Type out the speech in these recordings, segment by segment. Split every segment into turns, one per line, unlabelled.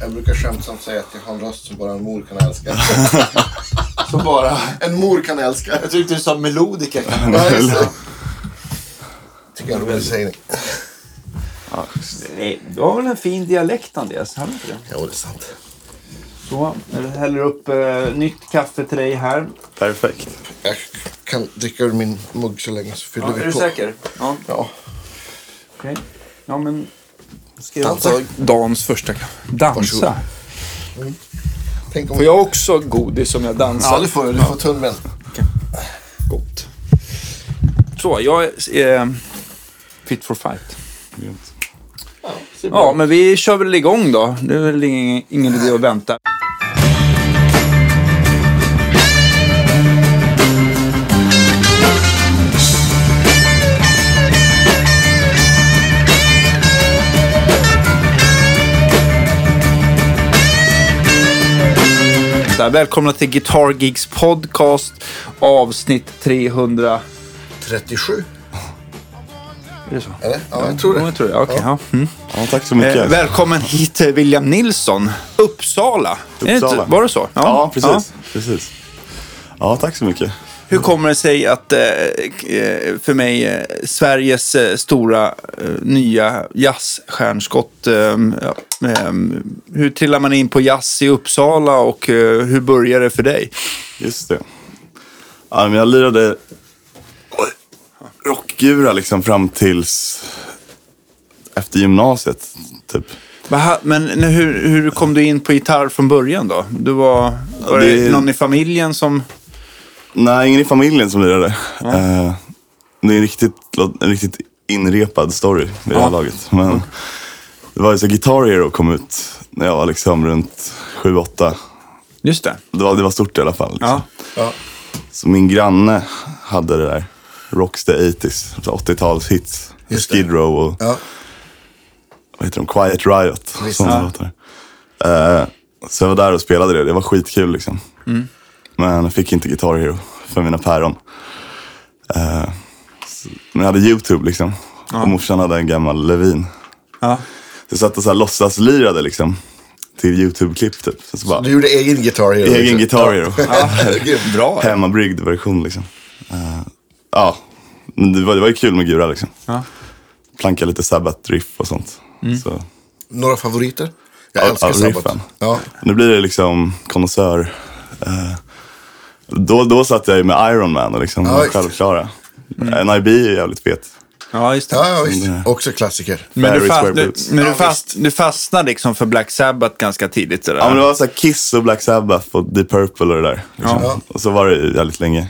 Jag brukar skämtsamt säga att jag har en röst som bara en mor kan älska. som bara en mor kan älska.
Jag tyckte du sa melodika.
Ja, just det. Tycker jag är en rolig sägning.
Ja, nej, du har väl en fin dialekt Andreas? Har du inte det?
Jo, det är sant.
Så, jag häller upp eh, nytt kaffe till dig här.
Perfekt.
Jag kan dricka ur min mugg så länge så fyller
Ja,
vi
är du
på.
säker? Ja.
Ja.
Okej. Ja, men... Ska jag...
Dansa.
Dans första kaffe. Dansa.
Tänk om...
Får jag också godis om jag dansar?
Ja, du får, du får tunnben.
Gott. Så, jag är eh, fit for fight. Ja, men vi kör väl igång då. Det är väl ingen, ingen idé att vänta. Där, Välkomna till Guitar Gigs podcast avsnitt 300.
37,
Är det så?
eller? Ja, jag tror
Ja,
det.
jag tror det. Okej, ja. Mm.
Ja, tack så mycket.
Eh, välkommen hit eh, William Nilsson, Uppsala. Är det inte-
Uppsala.
var det så?
ja, precis. Ja. precis. Ja, tack så mycket.
Hur kommer det sig att, eh, k- eh, för mig, eh, Sveriges eh, stora eh, nya jazzstjärnskott, eh, ja, eh, hur trillar man in på jazz i Uppsala och eh, hur började det för dig?
Just det. Ja, men jag lirade Oj. rockgura liksom fram tills efter gymnasiet. Typ.
Vaha, Men nu, hur, hur kom du in på gitarr från början då? Du var, var det...
det är-
någon i familjen som...
Nej, ingen i familjen som lirade. Eh, det är en riktigt, en riktigt inrepad story vid det här laget. Men det var ju så Guitar Hero kom ut när jag var liksom runt 7-8.
Just det.
Det var, det var stort i alla fall. Liksom.
Ja.
Ja.
Så min granne hade det där Rocks the 80s, alltså 80-talshits.
Just det.
Skid Row och
Ja.
vad heter de? Quiet Riot.
Visst.
Sådana
Ja.
låtar. Eh, så jag var där och spelade det. Det var skitkul liksom.
Mm.
Men jag fick inte Guitar Hero för mina päron. Eh, så- men jag hade YouTube liksom. Och morsan hade en gammal Levin.
Ja.
Så jag satt och så här låtsaslirade liksom. Till YouTube-klipp typ. Så, så bara,
Du gjorde egen gitarr. Hero.
egen Guitar Hero.
Grymt.
Bra.
Hemmabryggd version liksom. Eh, ja, men det var, det var ju kul med Gura liksom.
Ja.
Planka lite Sabbath-riff och sånt. Så,
Några favoriter? Jag
Ja,
älskar
ja,
Sabbath.
riffen.
Ja.
nu blir det liksom konnässör. Eh, då, då satt jag ju med Iron Man och liksom
Ja,
var
visst.
självklara. Eh, NIB är ju jävligt fet.
Ja, just det.
Ja, ja, visst. Också klassiker.
Men, du,
Barry's
fast,
Wear
du,
Boots.
men du,
Ja,
fast, du fastnade liksom för Black Sabbath ganska tidigt. Det där.
Ja, men det var så här Kiss och Black Sabbath och Deep Purple och det där. Liksom.
Ja.
Och så var det ju jävligt länge.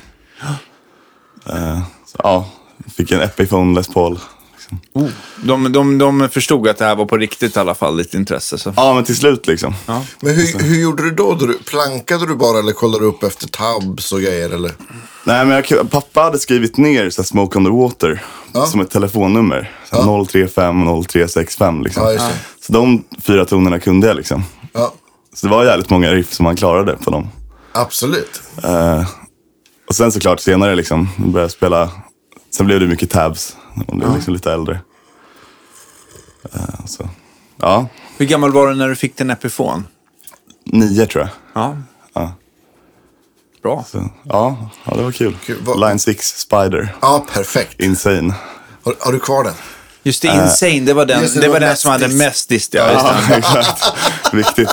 Eh, så, ja, fick en Epiphone Les Paul. Liksom.
Oh. de, de, de förstod att det här var på riktigt i alla fall, ditt intresse. Så.
Ja, men till slut liksom.
Men hur, hur gjorde du då? Du- Plankade du bara eller kollade du upp efter tabs och grejer? Eller?
Nej, men jag, pappa hade skrivit ner så här, Smoke on the Water
Ja.
som ett telefonnummer. Så här, 035 och 0365 liksom.
Ja, just det.
Så de fyra tonerna kunde jag liksom.
Ja,
Så det var jävligt många riff som man klarade på dem.
absolut.
Eh, och sen såklart senare liksom, började jag spela. Sen blev det mycket tabs. Man blev liksom lite äldre. Eh, så. Ja,
Hur gammal var du när du fick din Epifon?
nio tror jag.
Ja. Bra.
Så, ja, ja, det var kul.
Kul, vad-
Line 6 Spider.
Ja, perfekt.
Insane.
Har, har du kvar den?
Just det, Insane, det var den,
just
det,
det, det var
var den
mest
som hade
diss.
mest dist. Ja, just det.
Ja, exakt. Viktigt.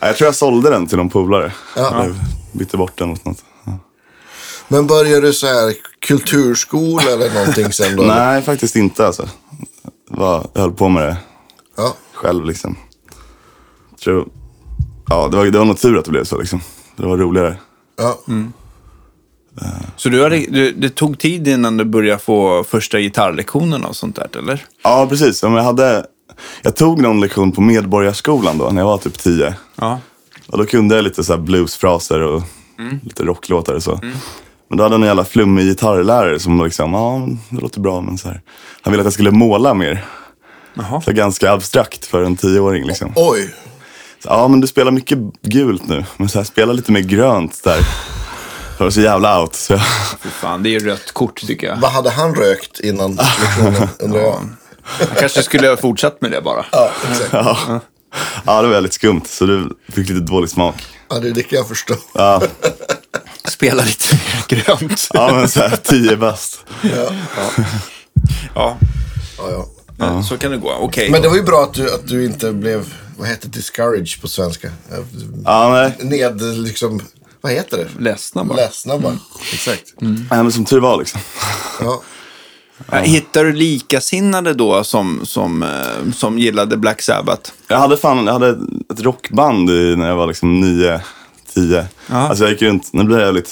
Ja, Jag tror jag sålde den till någon polare. Jag bytte bort den mot något.
Men började du så här kulturskola eller någonting sen då?
Nej, faktiskt inte alltså. Vad- Jag höll på med det
Ja,
själv liksom. Jag Tror... Ja, det var, det var nog tur att det blev så liksom. Det var roligare.
ja.
Så du hade, du, det tog tid innan du började få första gitarrlektionerna och sånt där, eller?
Ja, precis. Ja, men Jag, hade... jag tog någon lektion på Medborgarskolan då, när jag var typ tio.
Ja.
Och då kunde jag lite så här bluesfraser och lite rocklåtar och så. Men då hade jag en jävla flummig gitarrlärare som liksom, ja, det låter bra, men så här. Han ville att jag skulle måla mer.
Jaha.
Så ganska abstrakt för en tioåring liksom.
Oj,
Så, ja, men du spelar mycket gult nu, men så här, spela lite mer grönt där. Det var så jävla out. Så jag,
Fy fan, det är ju rött kort tycker jag.
vad hade han rökt innan lektionen undrar jag?
Jag kanske skulle ha fortsatt med det bara.
Ja, exakt.
ja. Ja, det var väldigt skumt. Så du fick lite dålig smak.
Ja, det, det kan jag förstå.
Ja,
Spela lite mer grönt.
ja men så här, tio bäst.
Ja, ja,
Ja,
ja, ja.
så kan det gå. Okej.
Men det var ju bra att du, att du inte blev, vad heter discourage på svenska? Eh,
Ja, nej.
Ned, liksom, vad heter det?
Ledsna bara. Mm.
Ledsna bara. Exakt.
nej, men som tur var liksom.
Ja.
Ja. Hittar du likasinnade då som, som, eh, som gillade Black Sabbath?
Jag hade fan, jag hade ett rockband i, när jag var liksom nio, tio. Alltså jag gick runt, nu blir jag lite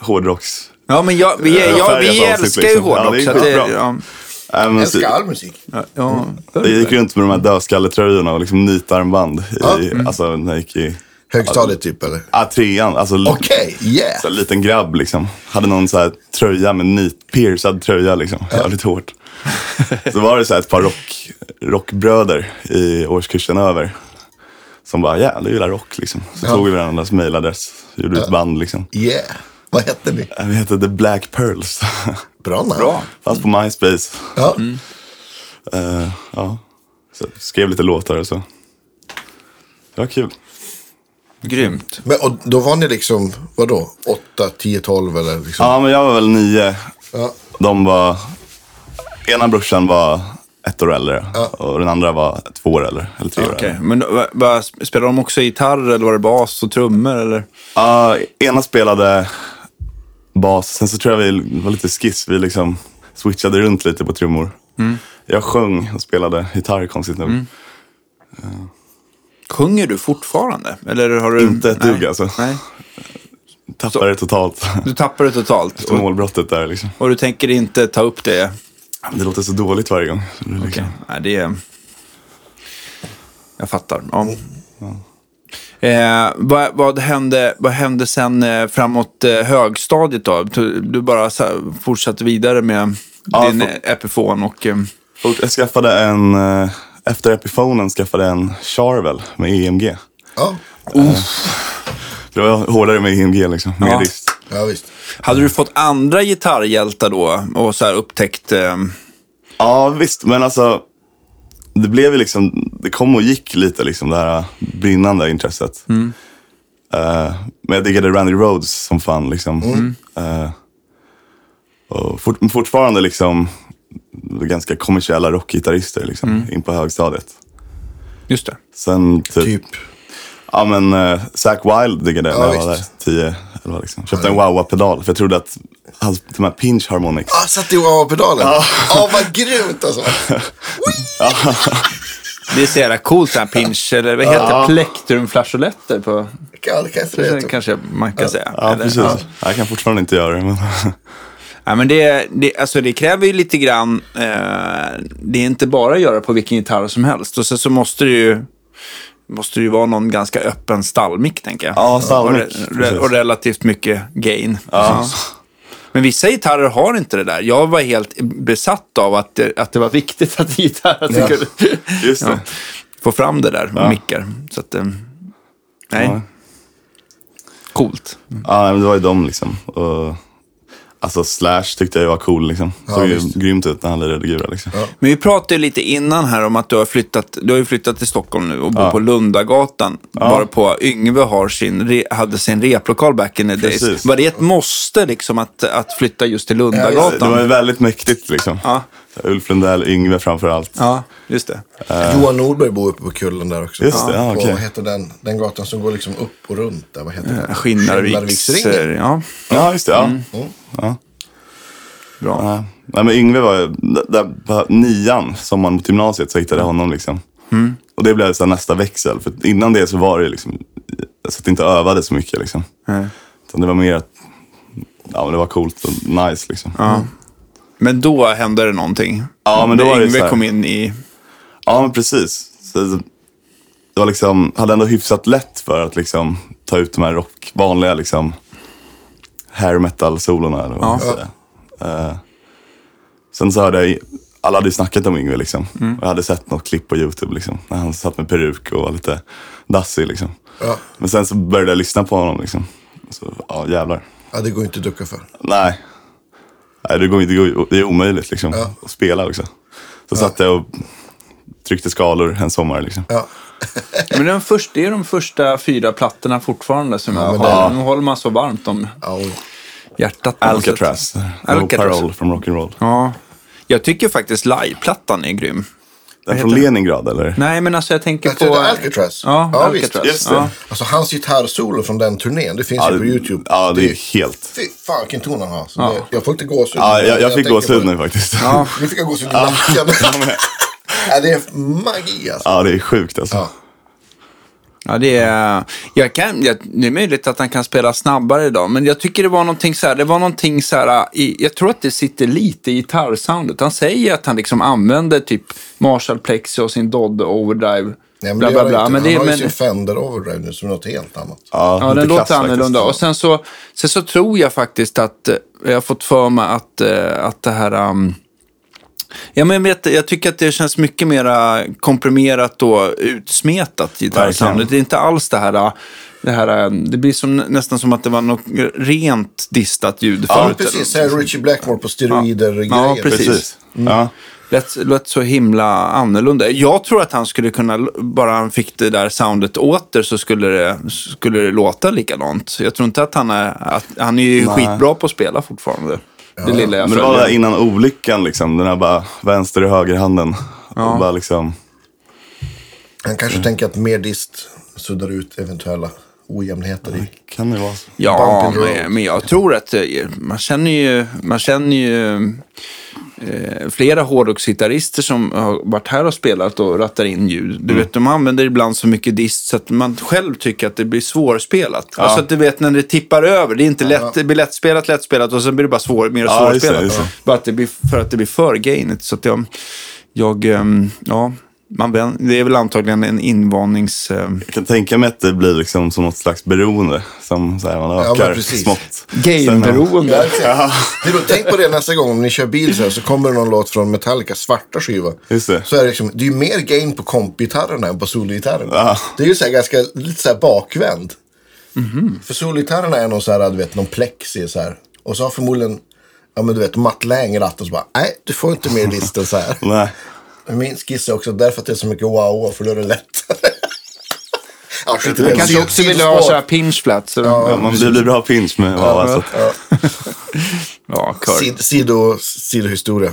hårdrocks...
Ja, men jag, vi,
Eh,
ja, vi
färgat avsnitt,
älskar ju
liksom.
hårdrock.
Ja, det är
så att
skitbra. Mm.
ja,
Nej, men så-
Älskar all musik.
ja, ja.
jag gick runt med de här dödskalletröjorna och liksom nitarmband. I,
Ja.
Alltså när jag gick i
Högstadiet typ eller?
ah, trean. Alltså, l-
Okej, yeah.
så här liten grabb liksom. Hade någon så här tröja med nit, piercad tröja liksom. Jävligt hårt. Så var det så här ett par rock, rockbröder i årskursen över. Som bara, jävlar du gillar rock liksom. Så
Ja.
tog vi varandras mailadress, gjorde ett band liksom.
Yeah. Vad hette ni?
Vi hette The Black Pearls.
Bra namn.
Bra.
Fast på MySpace.
Ja.
Eh, ja. Så skrev lite låtar och så. Det var kul.
Grymt.
Men, och då var ni liksom, vadå? 8, 10, 12 eller liksom?
Ja, men jag var väl nio.
Ja.
De var... Ena brorsan var ett år äldre och den andra var två år äldre. Eller tre år
Okej,
äldre.
men va, va, spelar de också gitarr eller var det bas och trummor? Eller?
Ja, ena spelade bas. Sen så tror jag vi var lite skiss. Vi liksom switchade runt lite på trummor. Jag sjöng och spelade gitarr konstigt nog.
Sjunger du fortfarande? Eller har du...
Inte ett
Nej.
dugg, alltså.
Nej.
Tappade det totalt.
Du tappar det totalt. Och,
Målbrottet där liksom.
och du tänker inte ta upp det?
Ja, men Det låter så dåligt varje gång. Så det är liksom-
Okej. Nej, det är... Jag fattar. Ja.
Mm.
Eh, vad, vad, hände, vad hände sen eh, framåt eh, högstadiet då? Du, du bara så här, fortsatte vidare med
Ja,
din
för-
eh, Epifon och... Eh,
Och jag skaffade en, eh, efter Epifonen skaffade jag en Charvel med EMG.
Ja,
Eh. Det var hårdare med EMG liksom, mer
Ja.
dist.
ja visst.
hade du fått andra gitarrhjältar då och så här upptäckt... Eh,
Ja visst, men alltså det blev ju liksom, det kom och gick lite liksom det här brinnande intresset.
Mm.
Eh, men jag diggade Randy Rhodes som fan liksom.
Mm.
Eh, och fort, fortfarande liksom ganska kommersiella rockgitarrister liksom,
Mm.
in på högstadiet.
just det.
Sen typ,
Typ.
Ja men uh, Zack Wilde diggade jag när
Ja,
jag var där,
visst. 10,
10-11 liksom. Köpte en wah-wah-pedal för jag trodde att hans, de här pinch harmonics.
Ah, satt i wah-pedalen? Ja, vad grymt alltså.
Det är så jävla coolt det här pinch, eller vad heter det? Plektrumflageoletter på...
Kan, kan inte det
Kanske,
heta.
kanske man kan säga.
Ja
Eller-
precis.
ja.
Jag kan fortfarande inte göra det. Men
Ja, men det, det, alltså det kräver ju lite grann... Eh, det är inte bara att göra på vilken gitarr som helst. Och sen så måste det ju, måste det ju vara någon ganska öppen stallmick, tänker jag.
Ja, stallmick,
Och, re,
precis.
och relativt mycket gain. Ja. Men vissa gitarrer har inte det där. Jag var helt besatt av att det, att det var viktigt att gitarren
Ja.
skulle
just
ja,
det.
få fram det där, mickar. Så att, eh, nej.
Ja.
Coolt.
Ja, men det var ju dem liksom. Och, alltså Slash tyckte jag var cool liksom. Såg ju
visst.
grymt ut när han lirade gura liksom.
Ja.
Men vi pratade ju lite innan här om att du har flyttat, du har ju flyttat till Stockholm nu och bor på Lundagatan. Bara på Yngve har sin, re- hade sin replokal back in the days.
Precis.
Var det ett måste liksom att, att flytta just till
Det
Lundagatan?
var ju väldigt mäktigt liksom.
Ja.
Ulf Lundell, Yngve framför allt.
Ja, just det.
Johan Norberg bor uppe på kullen där också.
Just det, ja,
På,
okej.
Vad heter den, den gatan som går liksom upp och runt där? Vad heter den?
Skinnarviks...
Skinnarviksringen. Mm.
Ja,
Ja, just det. Ja.
bra.
Ja. Nej, men Yngve var ju, där- där på nian, sommaren mot gymnasiet, så hittade jag honom. Liksom. Och det blev så här nästa växel. För innan det så var det liksom, jag satt inte och övade så mycket. Liksom. Utan det var mer att, ja men det var coolt och nice liksom. Ja,
Men då hände det någonting.
Ja, men då
När
var det
Yngve
så här-
kom in i...
men precis. Så det var liksom, hade ändå hyfsat lätt för att liksom ta ut de här rock, vanliga liksom hair metal-solorna. Eller vad man ska säga. Eh, sen så hörde jag, alla hade ju snackat om Yngve liksom. Och jag hade sett något klipp på YouTube liksom. När han satt med peruk och var lite dassig liksom.
Ja.
Men sen så började jag lyssna på honom liksom. Så, ja jävlar.
ja, det går inte att ducka för.
Nej. Nej, det, går, inte- det, går, det är omöjligt liksom.
Ja.
Att spela också. Så satt jag och tryckte skalor en sommar liksom.
Ja.
Men den först, det är de första fyra plattorna fortfarande som jag
men
har. Nu håller man så varmt om
Ja, oj.
hjärtat. på något sätt.
Alcatraz.
Alcatraz.
Alcatraz. Parole från rock'n'roll.
Ja. Jag tycker faktiskt liveplattan är grym.
Den från Leningrad eller?
Nej, men alltså jag tänker
Jag tror
på...
det är Alcatraz.
Ja,
Ja,
Alcatraz.
visst.
Just det.
Ja.
Alltså hans gitarrsolo från den turnén, det finns ju på YouTube.
Ja, det är helt...
Fy fan vilken ton han har. Så det, jag får inte gåshud.
Ja, jag, jag fick
tänker
gåshud
på det.
nu faktiskt.
Nu fick jag gåshud i nacken. Ja, det är magi alltså.
Ja, det är sjukt alltså.
Ja.
Ja, det är, jag kan, jag, det är möjligt att han kan spela snabbare idag, men jag tycker det var någonting så här, det var någonting så här, i, jag tror att det sitter lite i gitarrsoundet. Han säger att han liksom använder typ Marshall Plexi och sin Dodd Overdrive.
Nej, men
bla,
det
bla,
gör
bla.
han inte.
Men
han
det,
har ju
men,
sin Fender Overdrive nu som är något helt annat.
ja, den
lite
låter
klass faktiskt.
annorlunda. Och sen så, sen så tror jag faktiskt att, eh, jag har fått för mig att, eh, att det här... um, Ja, men jag, vet, jag tycker att det känns mycket mer komprimerat och utsmetat i gitarrsoundet.
Verkligen.
Det är inte alls det här... Det, här, eh, det blir som, nästan som att det var något rent distat ljud
Ja,
förut.
precis. Så här Richie Blackmore på steroider
Ja,
grejer.
precis.
Precis. Ja.
Lät, lät så himla annorlunda. Jag tror att han skulle kunna, bara han fick det där soundet åter så skulle det, skulle det låta likadant. Jag tror inte att han är, att, han är ju skitbra på att spela fortfarande. Det lilla jag
Men det var
följer.
där innan olyckan liksom. Den här bara vänster och högerhanden. Och bara liksom...
Han kanske tänker att mer dist suddar ut eventuella ojämnheter i.
Kan det vara så?
Ja,
Bumpy Road.
men, men jag tror att eh, man känner ju, man känner ju eh, flera hårdrocksgitarrister som har varit här och spelat och rattar in ljud. Du
Mm.
vet, de använder ibland så mycket dist så att man själv tycker att det blir svårspelat. Alltså att du vet när det tippar över, det, är inte lätt, det blir lättspelat, lättspelat och sen blir det bara svår, mer
Ja, just det,
svårspelat.
just det.
Bara att det blir, för att det blir för gainigt. Så att jag, jag ehm, ja, man, vän- det är väl antagligen en invanings... ehm,
Jag kan tänka mig att det blir liksom som något slags beroende. Som så här, man
men
ökar
precis.
smått.
Gain-beroende.
Ja, exakt. Du, då, tänk på det nästa gång om ni kör bil så, här, så kommer det någon låt från Metallica, svarta skiva.
Just det.
Så är det, liksom, det är ju mer gain på kompgitarrerna än på sologitarrerna.
Ja.
Det är ju så här ganska, lite så här bakvänd. För sologitarrerna är någon så här, du vet, någon plexi så här. Och så har förmodligen, ja men du vet, Matt Lang ratten så bara, nej du får inte mer dist än så här.
Nej.
Men Min skiss är också därför att det är så mycket wow, för då är det lättare. ja, skit i det.
Jag kanske
Sid-
också vill ha
sidospår.
så här pinch flat. Så
Ja, man blir, blir bra pinch med ja, alltså.
Ja, kör.
Sid- sido, sidohistoria.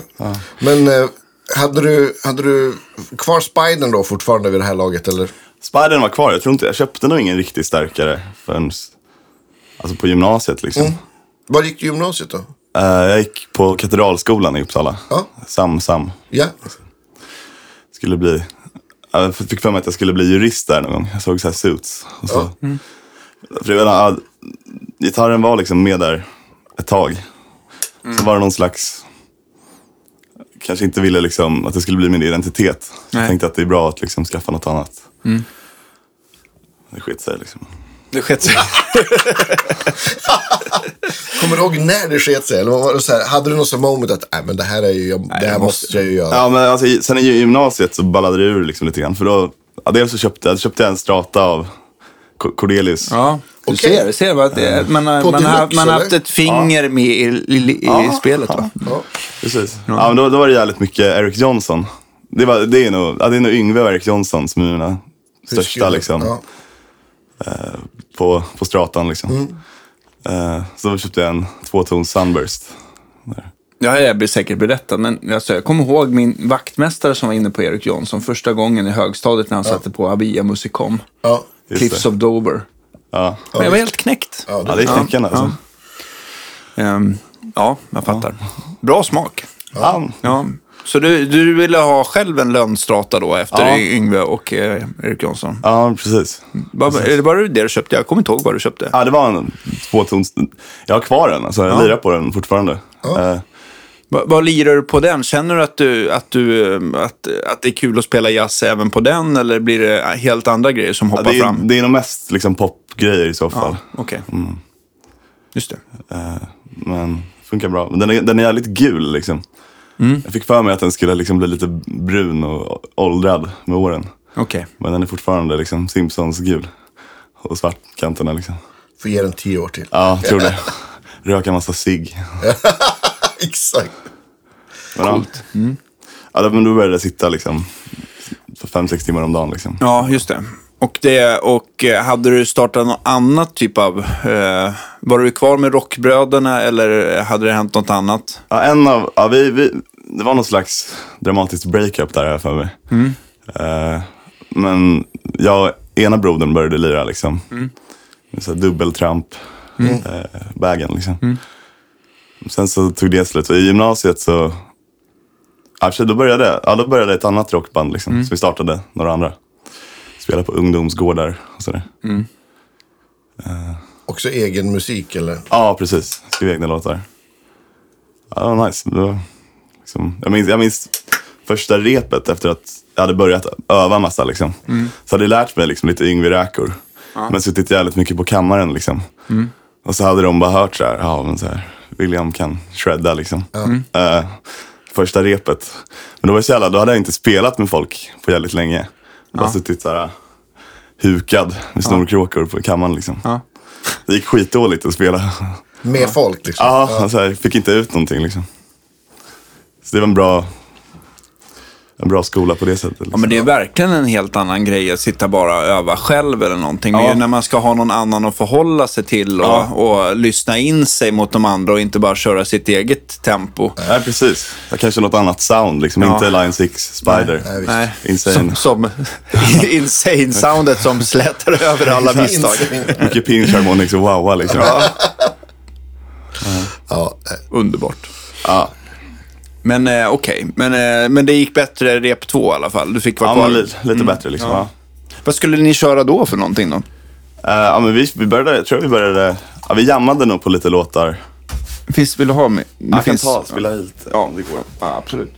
Men eh, hade, du, hade du kvar Spidern då fortfarande vid det här laget? Eller?
Spidern var kvar. Jag tror inte, jag köpte nog ingen riktigt starkare förrän alltså på gymnasiet. Liksom.
Mm. Var gick du i gymnasiet då?
Eh, jag gick på Katedralskolan i Uppsala.
Ja.
Sam, Sam.
Ja,
Skulle bli... Jag fick för mig att jag skulle bli jurist där någon gång. Jag såg så här suits. Och så. För jag vet, ja, gitarren var liksom med där ett tag.
Mm.
Så var det någon slags... Kanske inte ville liksom att det skulle bli min identitet.
Nej. Mm.
Jag tänkte att det är bra att liksom skaffa något annat. Det skit sig liksom.
Det skett sig.
kommer du ihåg när det sket sig? Eller var det så här, hade du något sån moment att Nej, men det här, är ju, jag, det här
jag måste-
måste jag ju göra?
Ja, men alltså, i- sen i gymnasiet så ballade det ur liksom lite grann. För då, ja, dels så köpte jag, köpte jag en strata av Co- Cordelius.
Ja, du
Okej.
ser, ser vad det är. Man, har-
På
man, har,
deluxe,
man har haft
eller?
ett finger med i, i, i, i spelet. Va?
Ja.
Precis. Ja, men då, då var det jävligt mycket Eric Johnson. Det, var, det, är, nog, ja, det är nog Yngve och Eric Johnson som är mina största liksom,
Ja.
på, på stratan. Liksom. Eh, så då köpte jag en tvåton Sunburst.
Ja, jag blir säkert berättad, men alltså, jag kommer ihåg min vaktmästare som var inne på Erik Johnson första gången i högstadiet när han satte på Avia Musicom,
Ja.
Just
Cliffs
det.
of Dover.
Ja.
Men jag var helt knäckt.
Ja,
ja,
det,
det är knäckande alltså.
Ehm, ja jag fattar. Bra smak.
Ja.
Ja. Så du, du ville ha själv en lönnstrata då efter
Ja.
Yngve och eh, Erik Johnson?
ja, precis.
Var, är det bara det du köpte? Jag kommer inte ihåg vad du köpte.
Ja, det var en tvåtons... Jag har kvar den, alltså, jag lirar på den fortfarande. Eh,
Va- Vad lirar du på den? Känner du, att, du, att, du eh, att, att det är kul att spela jazz även på den eller blir det helt andra grejer som
Ja,
hoppar
det, är,
fram?
det är nog mest liksom, popgrejer i så fall.
Ja, Okej.
Mm.
Just det.
Men funkar bra. Men den är, den är jävligt gul liksom. Jag fick för mig att den skulle liksom bli lite brun och åldrad med åren.
Okej.
Men den är fortfarande liksom Simpsons gul. Och svartkanterna liksom.
får ge den tio år till.
Ja, tror det. Röka massa cigg.
Exakt.
Men, ja. Ja, men då började det sitta liksom 5-6 timmar om dagen. Liksom.
Ja, just det. Och, det, och eh, hade du startat någon annat typ av... Eh, var du kvar med Rockbröderna eller hade det hänt något annat?
Ja, en av, ja, vi, vi, det var någon slags dramatiskt breakup där har jag för mig. Eh, men jag och ena brodern började lira liksom. Med så här dubbeltramp, eh, bagen liksom. Sen så tog det slut. Och I gymnasiet så, ja, i och för sig, då, började, ja, då började ett annat rockband liksom. Så vi startade några andra. Spelade på ungdomsgårdar och sådär.
Också egen musik eller?
Ja, precis. Skrev egna låtar. Ja, det var nice. Det var liksom, jag, minns, jag minns första repet efter att jag hade börjat öva massa. Liksom. Så hade jag lärt mig liksom, lite Yngwie Räkor. Men suttit jävligt mycket på kammaren. Liksom. Och så hade de bara hört så här, ja, men så här William kan shredda liksom. Eh, första repet. Men då var det så jävla, då hade jag inte spelat med folk på jävligt länge. Bara suttit så här hukad med snorkråkor på kammaren liksom.
Ja.
Det gick skitdåligt att spela.
Med folk liksom?
Ja, alltså jag fick inte ut någonting liksom. Så det var en bra, en bra skola på det sättet. Liksom.
Ja, men det är verkligen en helt annan grej att sitta bara och öva själv eller någonting. Men
Ja.
ju när man ska ha någon annan att förhålla sig till och,
Ja.
och lyssna in sig mot de andra och inte bara köra sitt eget tempo.
Nej, precis. Ja, Kanske något annat sound, liksom.
Ja.
inte Line 6, Spider,
Nej, visst.
Nej.
Insane.
Som, som insane-soundet som slätar över alla misstag.
Insane.
mycket pinch harmonics och wowa. Liksom.
Ja, eh,
Underbart. Men eh, okej, men, eh, men det gick bättre i rep två i alla fall. Du fick vara
Ja,
kvar.
men li- lite bättre liksom. Ja.
Vad skulle ni köra då för någonting då?
Eh, ja, men vi, vi började, jag tror vi började, ja, vi jammade nog på lite låtar.
Finns, vill du ha med? Det
Jag kan
finns-
ta, spela hit.
Ja, det går. Ja, absolut.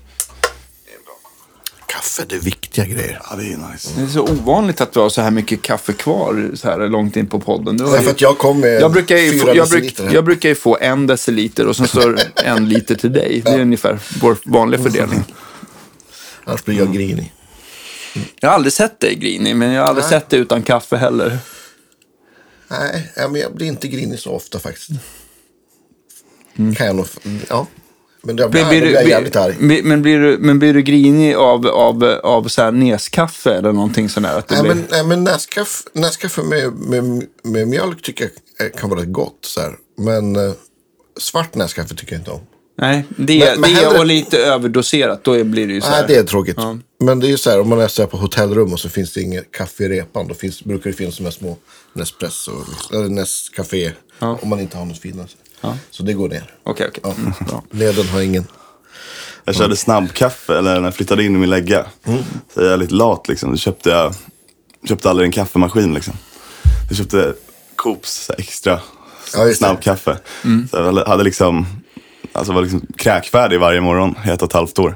kaffe, det är viktiga grejer.
Ja, det är nice.
Det är så ovanligt att vi har så här mycket kaffe kvar så här långt in på podden. Du har
Ja,
ju-
för att jag kom med
jag, brukar ju få,
fyra
jag, bruk,
deciliter här.
jag brukar ju få en deciliter och sen så en liter till dig. Det är ungefär vår vanliga fördelning.
Annars blir jag grinig.
Jag har aldrig sett dig grinig, men jag har aldrig
Nej.
sett dig utan kaffe heller.
Nej, ja, men jag blir inte grinig så ofta faktiskt. Kan jag nog... Ja. Men då blir,
Mm. Blir, blir,
blir, blir
du-
jag
blir-
jävligt arg.
blir, men, blir du, men blir du grinig av, av, av så här neskaffe eller någonting sånt där? Att det
Nej,
blir...
men, nej, men näskaffe, näskaffe med, med, med mjölk tycker jag eh, kan vara rätt gott. Så här. Men eh, svart näskaffe tycker jag inte om.
Nej, det, är
Men- men
det
hellre-
är och lite överdoserat. Då blir det ju så här.
Nej, det är tråkigt. Men det är ju så här, om man är så här på hotellrum och så finns det inget kaffe i repan. Då finns, brukar det finnas de här små Nespresso, eller Nescafé, om man inte har något finare. Så det går ner.
Okej, okej. Mm, bra.
Leden har ingen.
Jag
Mm.
körde snabbkaffe, eller när jag flyttade in i min lägga. Så jag är lite lat liksom. Då köpte jag köpte aldrig en kaffemaskin liksom. Jag köpte Coops så här, extra
Ja, just det. Mm.
snabbkaffe. Så jag hade liksom, alltså var liksom kräkfärdig varje morgon i ett och ett halvt år.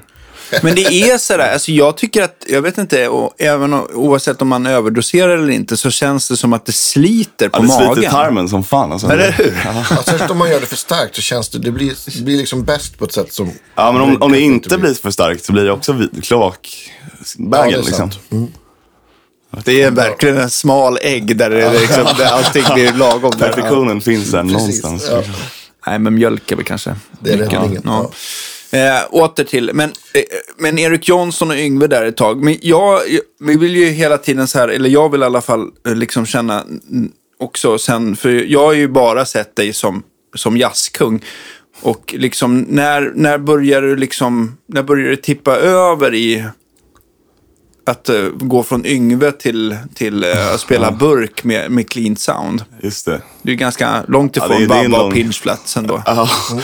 Men det är sådär, alltså jag tycker att, jag vet inte, och även o- oavsett om man överdoserar eller inte, så känns det som att det sliter på
Ja, det
magen.
sliter tarmen som fan. Alltså.
Eller hur?
Ja, särskilt om man gör det för starkt så känns det, det blir, det blir liksom bäst på ett sätt som...
Ja, men om, om det
kanske
inte blir för starkt så blir det också vid- kloakbägen.
Ja, det är
liksom.
sant.
Det är verkligen en smal ägg där, det liksom, där allting blir lagom. där.
Perfektionen finns där någonstans.
ja.
liksom.
Nej, men mjölk är väl kanske
Det är
nyckeln.
räddningen,
Ja. Eh, åter till, men, eh, men Erik Jonsson och Yngve där ett tag. Men jag, vi vill ju hela tiden så här, eller jag vill i alla fall eh, liksom känna mm, också sen, för jag har ju bara sett dig som, som jazzkung. Och liksom, när, när börjar du liksom, när börjar det tippa över i att eh, gå från Yngve till, till eh, att spela burk med, med clean sound?
Just det.
Du är ganska långt
det är-
ifrån
det är en
Babba och
lång-
Pinchflats ändå.
Ja,
Mm.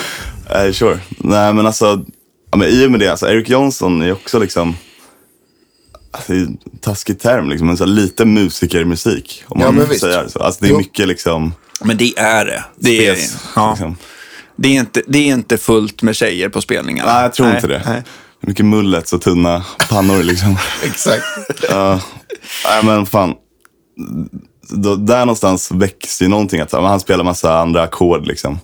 Eh, sure. Nej, men alltså, ja, men i och med det, alltså, Eric Johnson är också liksom, alltså, det är en taskig term, liksom, men så här, lite musikermusik. Om
Ja,
man
men visst.
säger så. Alltså, det är
Jo.
mycket liksom,
Men det är det. Det är,
spes,
ja.
liksom.
det är, inte, det är inte fullt med tjejer på spelningarna.
Nej, jag tror inte det.
nej.
Det är mycket mullet och tunna pannor liksom.
Exakt.
Nej men fan. Då, där någonstans väcks ju någonting. Att, så här, men han spelar massa andra ackord liksom.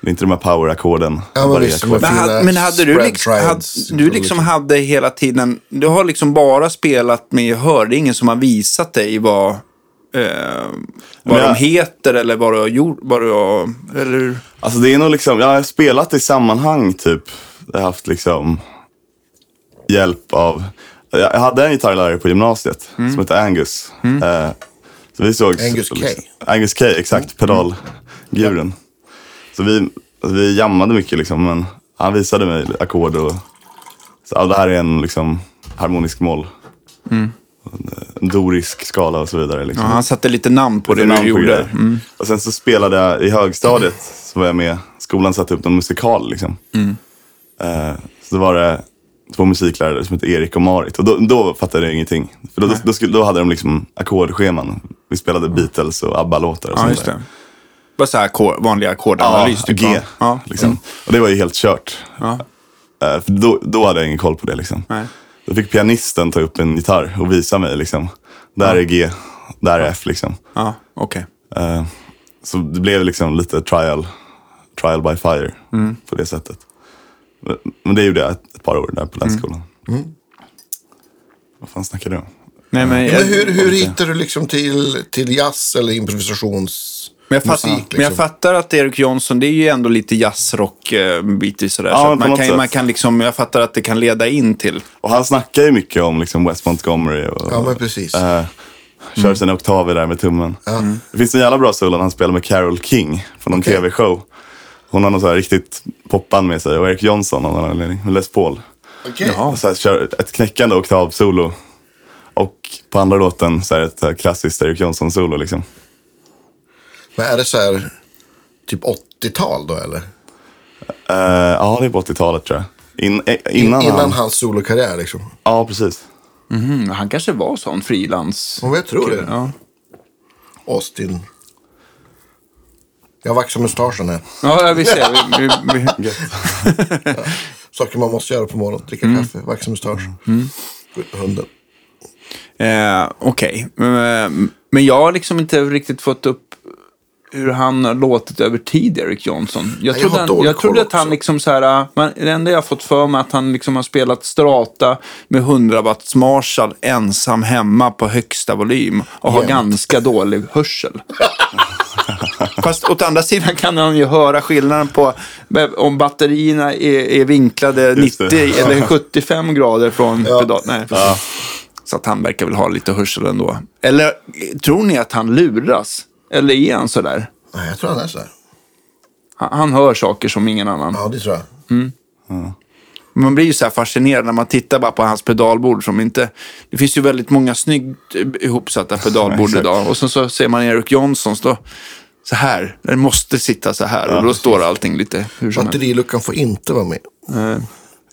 Det är inte de här powerackorden.
Ja, men
varje
visst, men-
ackord.
Men, ha,
Fina
men hade du
spread
liksom, hade,
triads.
du liksom hade hela tiden, du har liksom bara spelat med gehör. Det är ingen som har visat dig vad, eh, vad
jag-
de heter eller vad du har gjort. Vad du har, eller hur?
Alltså det är nog liksom, jag har spelat i sammanhang typ. Jag har haft liksom hjälp av Jag jag hade en gitarrlärare på gymnasiet som hette Angus. Eh, så vi såg
Mm. Angus K. Mm.
Angus K, exakt. Pedalguren. Så vi, alltså, vi jammade mycket liksom, men han visade mig ackord och så, ja, det här är en liksom, harmonisk moll.
Mm.
En dorisk skala och så vidare. Liksom.
Ja, han satte lite namn på det du
namn på
gjorde. Mm.
grejer. Och sen så spelade jag i högstadiet, så var jag med. Skolan satte upp någon musikal liksom.
Mm.
Eh, så då var det två musiklärare som hette Erik och Marit. Och då, då fattade jag ingenting. För då, då, då, skulle, då hade de liksom ackordscheman. Vi spelade Beatles och ABBA-låtar och
Ja,
sånt
just
där.
det. Bara så här ackord- vanlig ackordanalys.
Ja,
typ,
G.
va? Ja.
Liksom. Och det var ju helt kört.
Ja.
Eh, för då, då hade jag ingen koll på det. Liksom.
Nej.
Då fick pianisten ta upp en gitarr och visa mig. Liksom. Där är G, där är F. Liksom.
Ja, okej.
Eh, Så det blev liksom lite trial, trial by fire
Mm.
på det sättet. Men- Men det gjorde jag ett, ett par år där på
Mm.
lärarskolan. Vad fan snackar du om?
Nej,
Mm.
men,
Men
jag,
hur, hur hittar du liksom till, till jazz eller improvisations...
men, jag fattar,
musik, liksom?
men jag fattar att Erik Johnson, det är ju ändå lite jazzrock eh, bitvis sådär. så
men
att
på
man
något
kan,
sätt.
man kan liksom, jag fattar att det kan leda in till.
Och han snackar ju mycket om liksom West Montgomery och
Ja, men Mm. precis.
eh, kör sina oktaver där med tummen. Mm. Det finns en jävla bra solo han spelar med Carole King på någon
Okej.
tv-show. Hon har någon så här riktigt popband med sig och Eric Johnson av någon anledning. Och Les Paul.
Okej.
Och så här, kör ett knäckande oktavsolo. Och på andra låten så här ett eh, klassiskt Eric Johnson-solo. Liksom.
Men är det så här typ 80-tal då eller?
Eh, ja, det är på 80-talet tror jag. In, eh, innan,
Innan
han...
hans solokarriär liksom.
Ja, precis.
Mm, han kanske var sån frilans.
Ja, men jag tror det.
Ja.
Austin. Jag vaxar mustaschen här.
Ja, vi ser. Vi, vi, vi,
Saker man måste göra på morgonen. Dricka
Mm.
kaffe, vaxa mustaschen. Gå ut med hunden.
Eh, Okej, men, men jag har liksom inte riktigt fått upp hur han har låtit över tid, Eric Johnson. Jag
har
trodde, han,
dålig
jag trodde
koll
att han
också.
liksom så här, äh, man, det enda jag har fått för mig att han liksom har spelat strata med 100 watts Marshall ensam hemma på högsta volym och har
Jämt.
ganska dålig hörsel. Fast åt andra sidan kan han ju höra skillnaden på om batterierna är, är vinklade
Just
90
det.
eller 75 grader från
Ja.
pedal. Nej. Så att han verkar väl ha lite hörsel ändå. Eller eh, tror ni att han luras? Eller är han sådär?
Nej, jag tror han är så här.
Han, han hör saker som ingen annan.
Ja, det tror jag.
Man blir ju så här fascinerad när man tittar bara på hans pedalbord som inte... Det finns ju väldigt många snyggt eh, ihopsatta pedalbord
Exakt.
idag. Och sen så ser man Eric Johnsons då. Så här. Den måste sitta så här. och då står allting lite hur som helst. Eh.
Batteriluckan får inte vara med.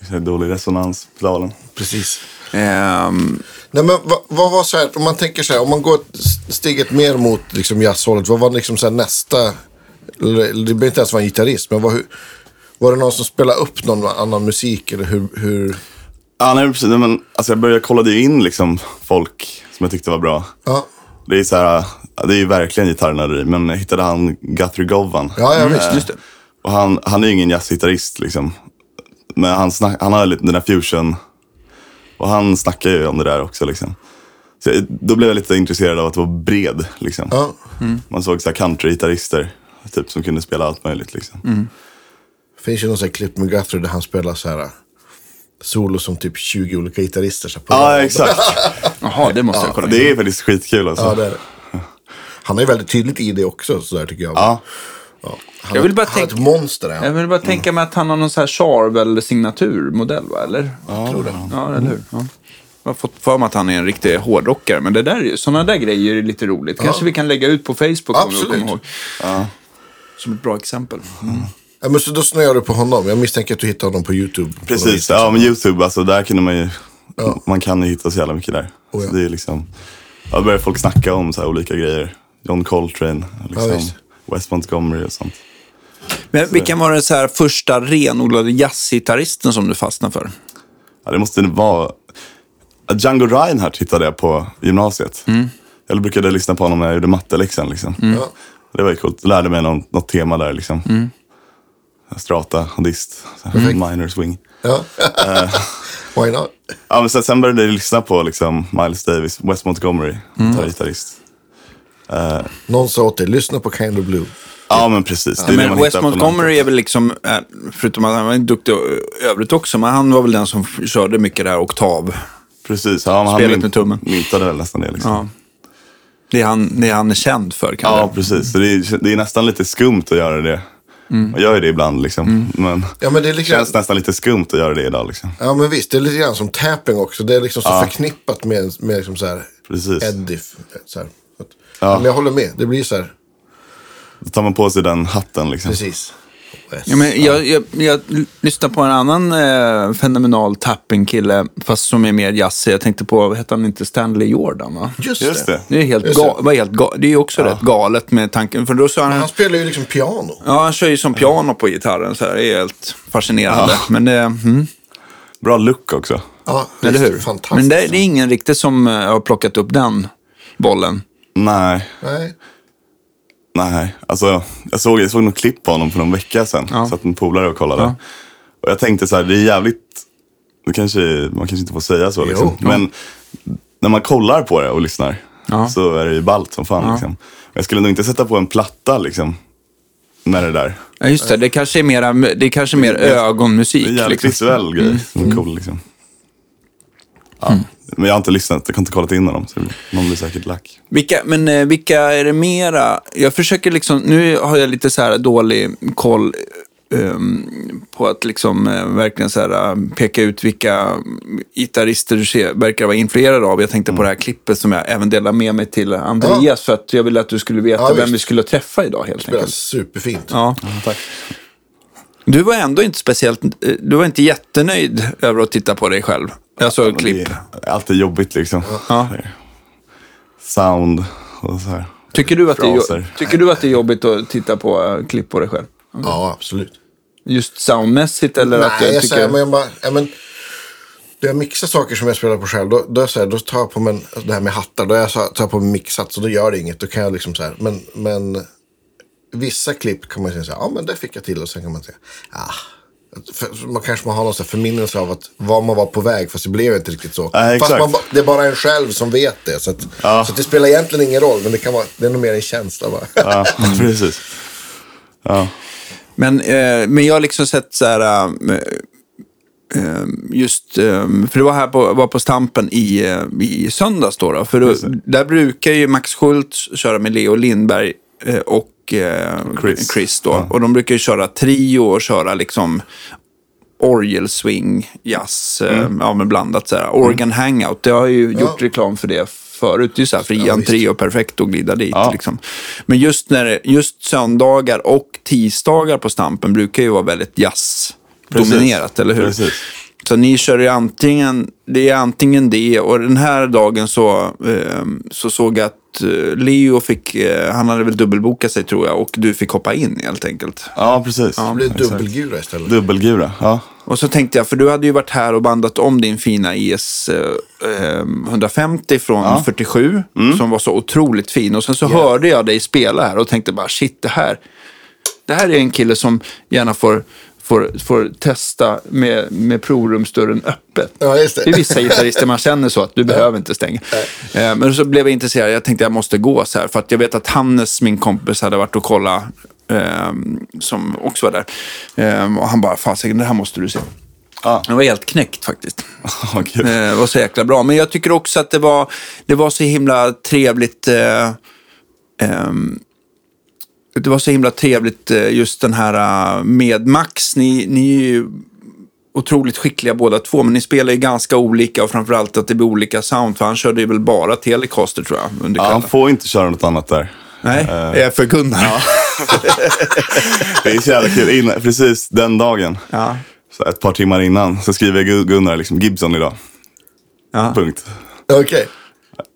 Det är Dålig resonans på pedalen.
Precis.
Ehm,
Nej, men vad, vad var så här, om man tänker så här, om man går ett s- steget mer mot liksom jazzhållet, vad var liksom så här nästa, eller eller det behöver inte ens vara en gitarrist, men vad, hur, var det någon som spelade upp någon annan musik eller hur, hur
Ja, nej, precis. Nej, Men, alltså, jag började kolla in liksom, folk som jag tyckte var bra.
ja,
Det är, så här, ja, det är ju verkligen gitarrnörderi, men jag hittade han Guthrie Govan.
ja, ja visst.
just det.
Och han, han är ju ingen jazzgitarrist liksom. Men han, snack, han har lite den där fusion. Och han snackar ju om det där också liksom. Så jag, då blev jag lite intresserad av att vara bred liksom.
Ja. Mm.
Man såg så här countrygitarrister. Typ som kunde spela allt möjligt liksom.
Mm. Finns ju någon sån här klipp med Guthrie där han spelar så här solo som typ 20 olika gitarrister. Så här, på
Ja, exakt.
Jaha, det måste jag kolla in.
Det är faktiskt skitkul alltså.
ja, det är det. Han är ju väldigt tydligt i det också, så där tycker jag.
Ja.
Han,
Jag vill bara
han är ett
tänka-
monster. är Han.
Jag vill bara tänka mig att han har någon så här Charvel-signaturmodell, va? Eller? Ja, tror det. Ja, eller hur? Ja. Jag har fått för mig att han är en riktig hårdrockare, men det där är ju, sådana där grejer är lite roligt. Kanske vi kan lägga ut på Facebook om du
Absolut.
kommer ihåg. Som ett bra exempel.
Ja, men så då snöar du på honom. Jag misstänker att du hittar honom på YouTube. på något vis.
Precis, ja men YouTube, alltså där kunde man ju, man kan ju hitta så jävla mycket där.
Oh, ja.
så det är liksom, ja, då börjar folk snacka om så här olika grejer. John Coltrane, liksom,
visst.
West Montgomery och sånt.
Men vilken var den så här första renodlade jazzgitarristen som du fastnade för?
Ja, det måste vara, ja, Django Reinhardt hittade jag på gymnasiet.
Mm.
Jag brukade lyssna på honom när jag gjorde matteläxan. Liksom.
Ja.
Det var ju coolt, jag lärde mig någon, något tema där liksom.
Mm.
Strata, dist, så här, minor swing.
Ja. Why not?
Ja, men sen, sen började jag lyssna på liksom, Miles Davis, West Montgomery,
Mm.
gitarrist.
Någon sa åt dig, lyssna på Kind of Blue.
Ja, men precis. Det är det
Men
man
West
hittar på
Montgomery
nätet.
är väl liksom, eh, förutom att han var en duktig ö- övrigt också, men han var väl den som f- körde mycket det här oktav.
Precis, ja, men
Spelet
han
med tummen.
myntade väl nästan det. Liksom. Ja.
Ja. Det, är han, det är han är känd för kanske.
precis. Så det är, det är nästan lite skumt att göra det.
Mm.
Jag gör ju det ibland, liksom. men
Ja, men det är
det
liksom...
känns nästan lite skumt att göra det idag. Liksom.
Ja, men visst. Det är lite grann som tapping också. Det är liksom så förknippat med, med liksom så här
Precis.
Eddie. Så här. Att- Men jag håller med. Det blir så här.
Då tar man på sig den hatten. Liksom.
Precis.
Ja, men jag, jag, jag lyssnade på en annan eh, fenomenal tapping-kille, fast som är mer jazzig. Jag tänkte på, hette han inte Stanley Jordan? Va?
Just,
Just
det.
det.
Det är, helt
Just det.
ga- var helt ga- det är ju också rätt galet med tanken. För då sa han,
Han spelar ju liksom piano.
ja, han kör ju som piano på gitarren. Så här. Det är helt fascinerande. Men det, mm,
Bra look också.
Ja,
eller
visst.
hur?
Fantastiskt.
Men det, det är ingen riktigt som eh, har plockat upp den bollen.
Nej,
Nej.
nej. Alltså, jag, såg, jag såg något klipp på honom för någon vecka sedan. Så att en polare och kollade.
Ja.
Och jag tänkte så här, det är jävligt... Det kanske, man kanske inte får säga så. Liksom.
Jo.
Men när man kollar på det och lyssnar
Ja.
så är det ju ballt som fan. Liksom. Men Jag skulle nog inte sätta på en platta liksom, med det där.
Ja, just det. Det kanske är mera, det är kanske mer ögonmusik.
Det är en jävligt
liksom. Mm.
visuell grej. som är Cool, liksom. ja. Men jag har inte lyssnat, jag har inte kollat in honom. Så någon blir säkert lack.
Vilka, men eh, vilka är det mera? Jag försöker liksom, nu har jag lite så här dålig koll ehm, på att liksom eh, verkligen så här, eh, peka ut vilka gitarrister du ser, verkar vara influerad av. Jag tänkte på
Mm.
det här klippet som jag även delar med mig till Andreas för att jag ville att du skulle veta
Ja,
vem
visst.
vi skulle träffa idag helt
Spelar
enkelt.
superfint.
Ja.
Tack.
Du var ändå inte speciellt, eh, du var inte jättenöjd över att titta på dig själv. Jag såg
Men det
klipp.
är alltid jobbigt liksom.
Ja.
Sound och så här.
Tycker du, att det är, jo-
Fraser.
tycker du att det är jobbigt att titta på eh, klipp på dig själv?
Ja, absolut.
Just soundmässigt eller att
Nej,
jag
jag
tycker...
säger, men jag bara, ja, men, när jag mixar saker som jag spelar på själv, då, då, är jag så här, då tar jag på mig, en- alltså det här med hattar, då är jag så här, tar jag på mig mixat, så då gör det inget. Då kan jag liksom så här, men, men vissa klipp kan man säga så här, ja men det fick jag till och sen kan man säga, ah. För, man kanske man har någon så här förminnelse av att vad man var på väg, fast det blev inte riktigt så.
Nej,
fast
exakt.
man, ba- det är bara en själv som vet det. Så, att,
Ja.
så att det spelar egentligen ingen roll, men det, kan vara, det är nog mer en känsla bara.
Ja,
Mm.
precis. Ja.
Men, eh, men jag har liksom sett så här... eh, eh, Just, eh, för det var här på, var på Stampen i, eh, i söndags då. då för då, där brukar ju Max Schultz köra med Leo Lindberg eh, och eh, Chris.
Chris.
då. Och de brukar ju köra trio och köra liksom orgel swing, jazz, eh,
Mm.
ja men blandat så här. Organ hangout, det har ju gjort reklam för det förut. Det är ju så här fri entré och perfekt och glida dit.
Ja.
Liksom. Men just, när, det- just söndagar och tisdagar på Stampen brukar ju vara väldigt jazzdominerat,
Precis.
eller hur?
Precis.
Så ni kör ju antingen, det är antingen det och den här dagen så, eh, så såg jag att eh, Leo fick, eh, han hade väl dubbelbokat sig tror jag och du fick hoppa in helt enkelt.
ja, precis.
Det blir dubbelgura istället.
Dubbelgura, ja.
Och så tänkte jag, för du hade ju varit här och bandat om din fina ES eh, eh, 150 från 47,
Mm.
som var så otroligt fin. Och sen så hörde jag dig spela här och tänkte bara, shit, det här, det här är en kille som gärna får, får, får testa med, med provrumsdörren öppet.
Ja, just det.
är vissa gitarrister man känner så att du behöver inte stänga. Eh, Men så blev jag intresserad, jag tänkte jag måste gå så här. För att jag vet att Hannes, min kompis, hade varit och kollat, eh, som också var där. Eh, och han bara, fasiken det här måste du se.
Ja.
Det var helt knäckt faktiskt.
Ja, kul.
Eh, Det var så jäkla bra. Men jag tycker också att det var, det var så himla trevligt. Eh, ehm, det var så himla trevligt eh, just den här eh, med Max. Ni, ni är ju otroligt skickliga båda två, men ni spelar ju ganska olika och framförallt att det blir olika sound. För han körde ju väl bara Telecaster tror jag under
Ja, han
kvällen.
får inte köra något annat där.
Nej, det är för Gunnar.
Det är så jävla kul. Innan, precis den dagen,
Ja.
så ett par timmar innan, så skriver Gu- Gunnar liksom, Gibson idag.
Ja.
Punkt.
Okej.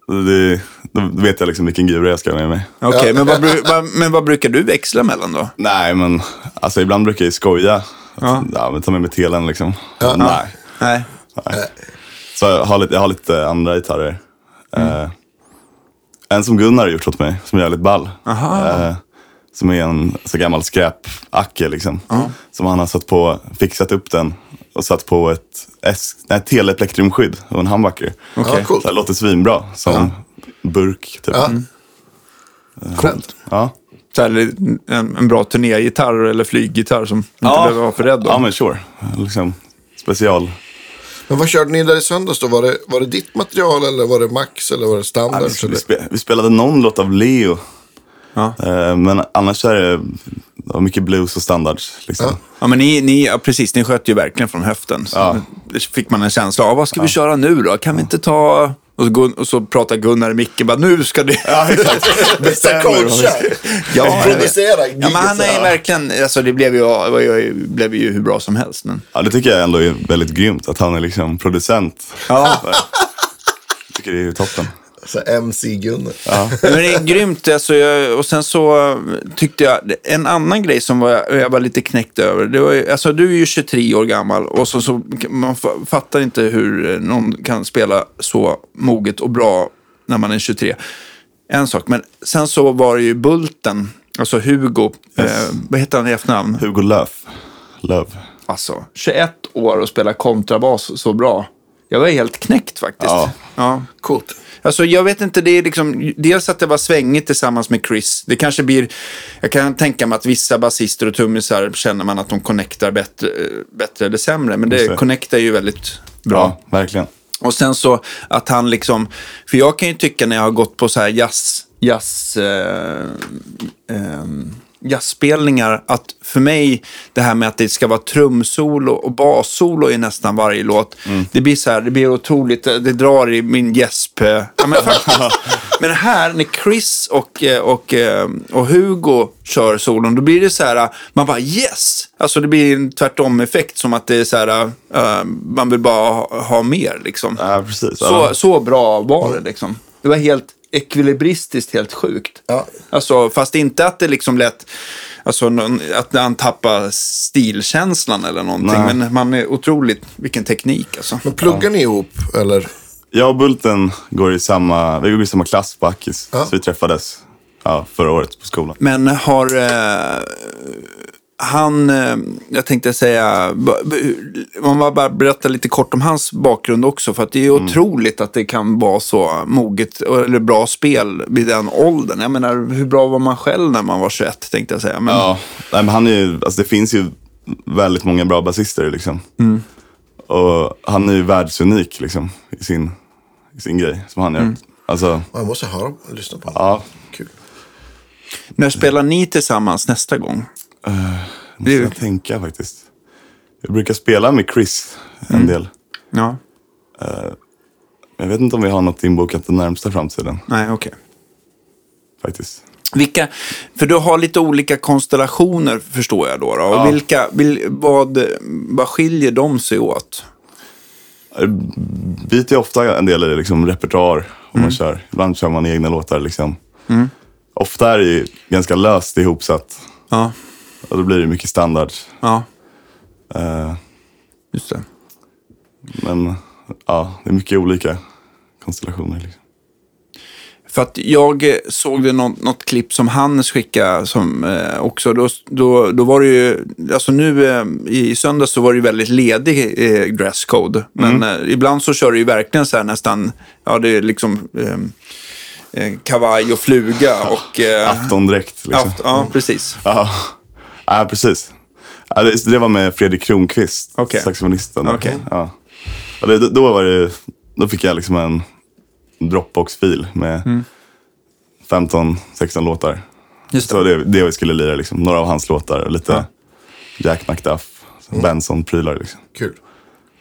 Det, då vet jag liksom vilken gura jag ska ha med mig.
Okej, men, vad, bru- vad, men vad brukar du växla mellan då?
Nej, men alltså, ibland brukar jag ju skoja. Att, ja, men ta med mig telen liksom. Nej.
Nej.
Så jag har lite, jag har lite andra gitarrer.
Mm.
Eh, en som Gunnar har gjort åt mig, som är jävligt ball. Eh, som är en så gammal skräpacke liksom. Som han har satt på, fixat upp den och satt på ett, S, nej, ett teleplektrumskydd och en humbucker.
Okej. Ja, coolt.
Så det låter svinbra, som burk typ.
Ja.
Ja.
Coolt.
Ja.
Så här, en, en bra turnégitarr eller flyggitarr som inte behöver vara för rädd om.
Ja, men sure. Liksom, special.
Men vad körde ni där i söndags då? Var det, var det ditt material eller var det Max eller var Alltså, det
Ja,
standard?
Alltså, vi, vi,
eller?
spe, vi spelade någon låt av Leo.
Ja.
Eh, men annars är det, det var mycket blues och standards. Liksom.
Ja.
Ja, men ni, ni, ja, precis, ni sköt ju verkligen från höften. Så
Ja.
det Fick man en känsla av, vad ska vi köra nu då? Kan vi inte ta... Och så, Gun, och så pratar Gunnar i micken, bara nu ska du... Ja,
Bästa coacher!
jag vet.
Producera,
ja, men han är ju verkligen... Alltså, det blev ju, det var ju- blev ju hur bra som helst. Men...
Ja, det tycker jag ändå är väldigt grymt att han är liksom producent.
Ja.
Jag tycker det är toppen.
Så MC-Gunnar.
Men det är grymt. Alltså, jag, och sen så tyckte jag, en annan grej som var, jag var lite knäckt över. Det var, ju- alltså, du är ju 23 år gammal och så, så, man fa- fattar inte hur någon kan spela så moget och bra när man är 23. En sak, men sen så var det ju Bulten, alltså Hugo, eh, vad heter han i efternamn?
Hugo Löf. Löf.
Alltså, 21 år och spela kontrabas så bra. Jag var helt knäckt faktiskt.
Ja.
ja.
Coolt.
Alltså jag vet inte, det är liksom, dels att det var svängigt tillsammans med Chris. Det kanske blir, jag kan tänka mig att vissa basister och trummisar känner man att de connectar bättre, eh, bättre eller sämre. Men
Just det.
det connectar ju väldigt bra.
Ja, verkligen.
Och sen så att han liksom, för jag kan ju tycka när jag har gått på så här jazz, jazz, eh, eh, jazzspelningar, att för mig det här med att det ska vara trumsolo och bassolo i nästan varje låt, det blir så här, det blir otroligt, det drar i min gäsp. eh. Ja, men, faktiskt. men här när Chris och, eh, och, eh, och Hugo kör solon, då blir det så här, eh, man bara yes! Alltså det blir en tvärtom-effekt som att det är så här, eh, man vill bara ha, ha mer liksom.
Ja, precis.
Så,
Ja.
så bra var det liksom. Det var helt ekvilibristiskt helt sjukt.
Ja.
Alltså, fast inte att det liksom lät, alltså någon, att han tappar stilkänslan eller någonting.
Nej.
Men man är otroligt, vilken teknik alltså.
Men pluggar ni ihop eller?
Jag och Bulten går i samma, vi går i samma klass på Akis.
Ja.
Så vi träffades ja, förra året på skolan.
Men har eh, han, eh, jag tänkte säga, b- b- om man bara berättar lite kort om hans bakgrund också. För att det är ju
Mm.
otroligt att det kan vara så moget, eller bra spel vid den åldern. Jag menar, hur bra var man själv när man var 21 tänkte jag säga. Men,
Ja, nej, men han är ju, alltså det finns ju väldigt många bra basister liksom.
Mm.
Och han är ju världsunik liksom i sin, i sin grej som han gör.
Mm.
Alltså,
Ja, Jag måste höra och lyssna på honom.
ja.
Kul.
När spelar ni tillsammans nästa gång?
Måste
Det är ju-
jag tänka faktiskt. Jag brukar spela med Chris en
Mm.
del.
Ja,
Jag vet inte om vi har något inbokat den närmsta framtiden
nej okej.
faktiskt.
Vilka, för du har lite olika konstellationer förstår jag då. då. Och
Ja.
vilka, vil, vad, vad skiljer de sig åt?
Jag byter ju ofta en del i liksom repertoar om
Mm.
man kör. Ibland kör man egna låtar liksom. Ofta är det ju ganska löst ihopsatt.
Ja,
Och då blir det mycket standard.
ja
Eh,
just det.
Men ja, det är mycket olika konstellationer. Liksom.
För att jag eh, såg det något, något klipp som Hannes skickade som, eh, också. Då, då, då var det ju, alltså nu eh, i söndags så var det ju väldigt ledig eh, dresscode. Men eh, ibland så kör det ju verkligen så här nästan, ja det är liksom eh, eh, kavaj och fluga och... Eh,
Aftondräkt. Liksom.
aft- ja, precis.
Ja. ja, precis. Ja, det, det var med Fredrik Kronqvist,
Okej.
saxofonisten.
Okej.
Ja. Och det, då, var det, då fick jag liksom en Dropbox-fil med
Mm.
15-16 låtar.
Just
Så det, det vi skulle lira, liksom. några av hans låtar och lite Jack McDuff,
Mm.
Benson-prylar. Liksom.
Kul.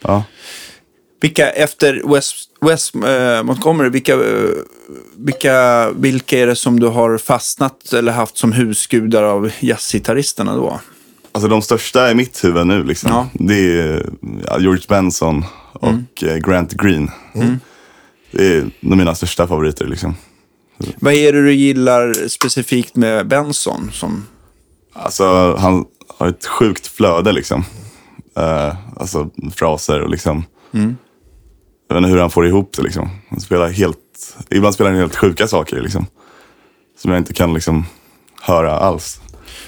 Ja.
Vilka efter West, West eh, Montgomery, vilka, eh, vilka, vilka är det som du har fastnat eller haft som husgudar av jazzgitarristerna då?
Alltså de största i mitt huvud nu liksom.
Ja.
Det är ja, George Benson och eh, Grant Green. Det är de mina största favoriter liksom.
Vad är det du gillar specifikt med Benson? Som,
Alltså han har ett sjukt flöde liksom. Eh, alltså fraser och liksom. Jag vet inte hur han får ihop det liksom. Han spelar helt, ibland spelar han helt sjuka saker liksom. Som jag inte kan liksom höra alls.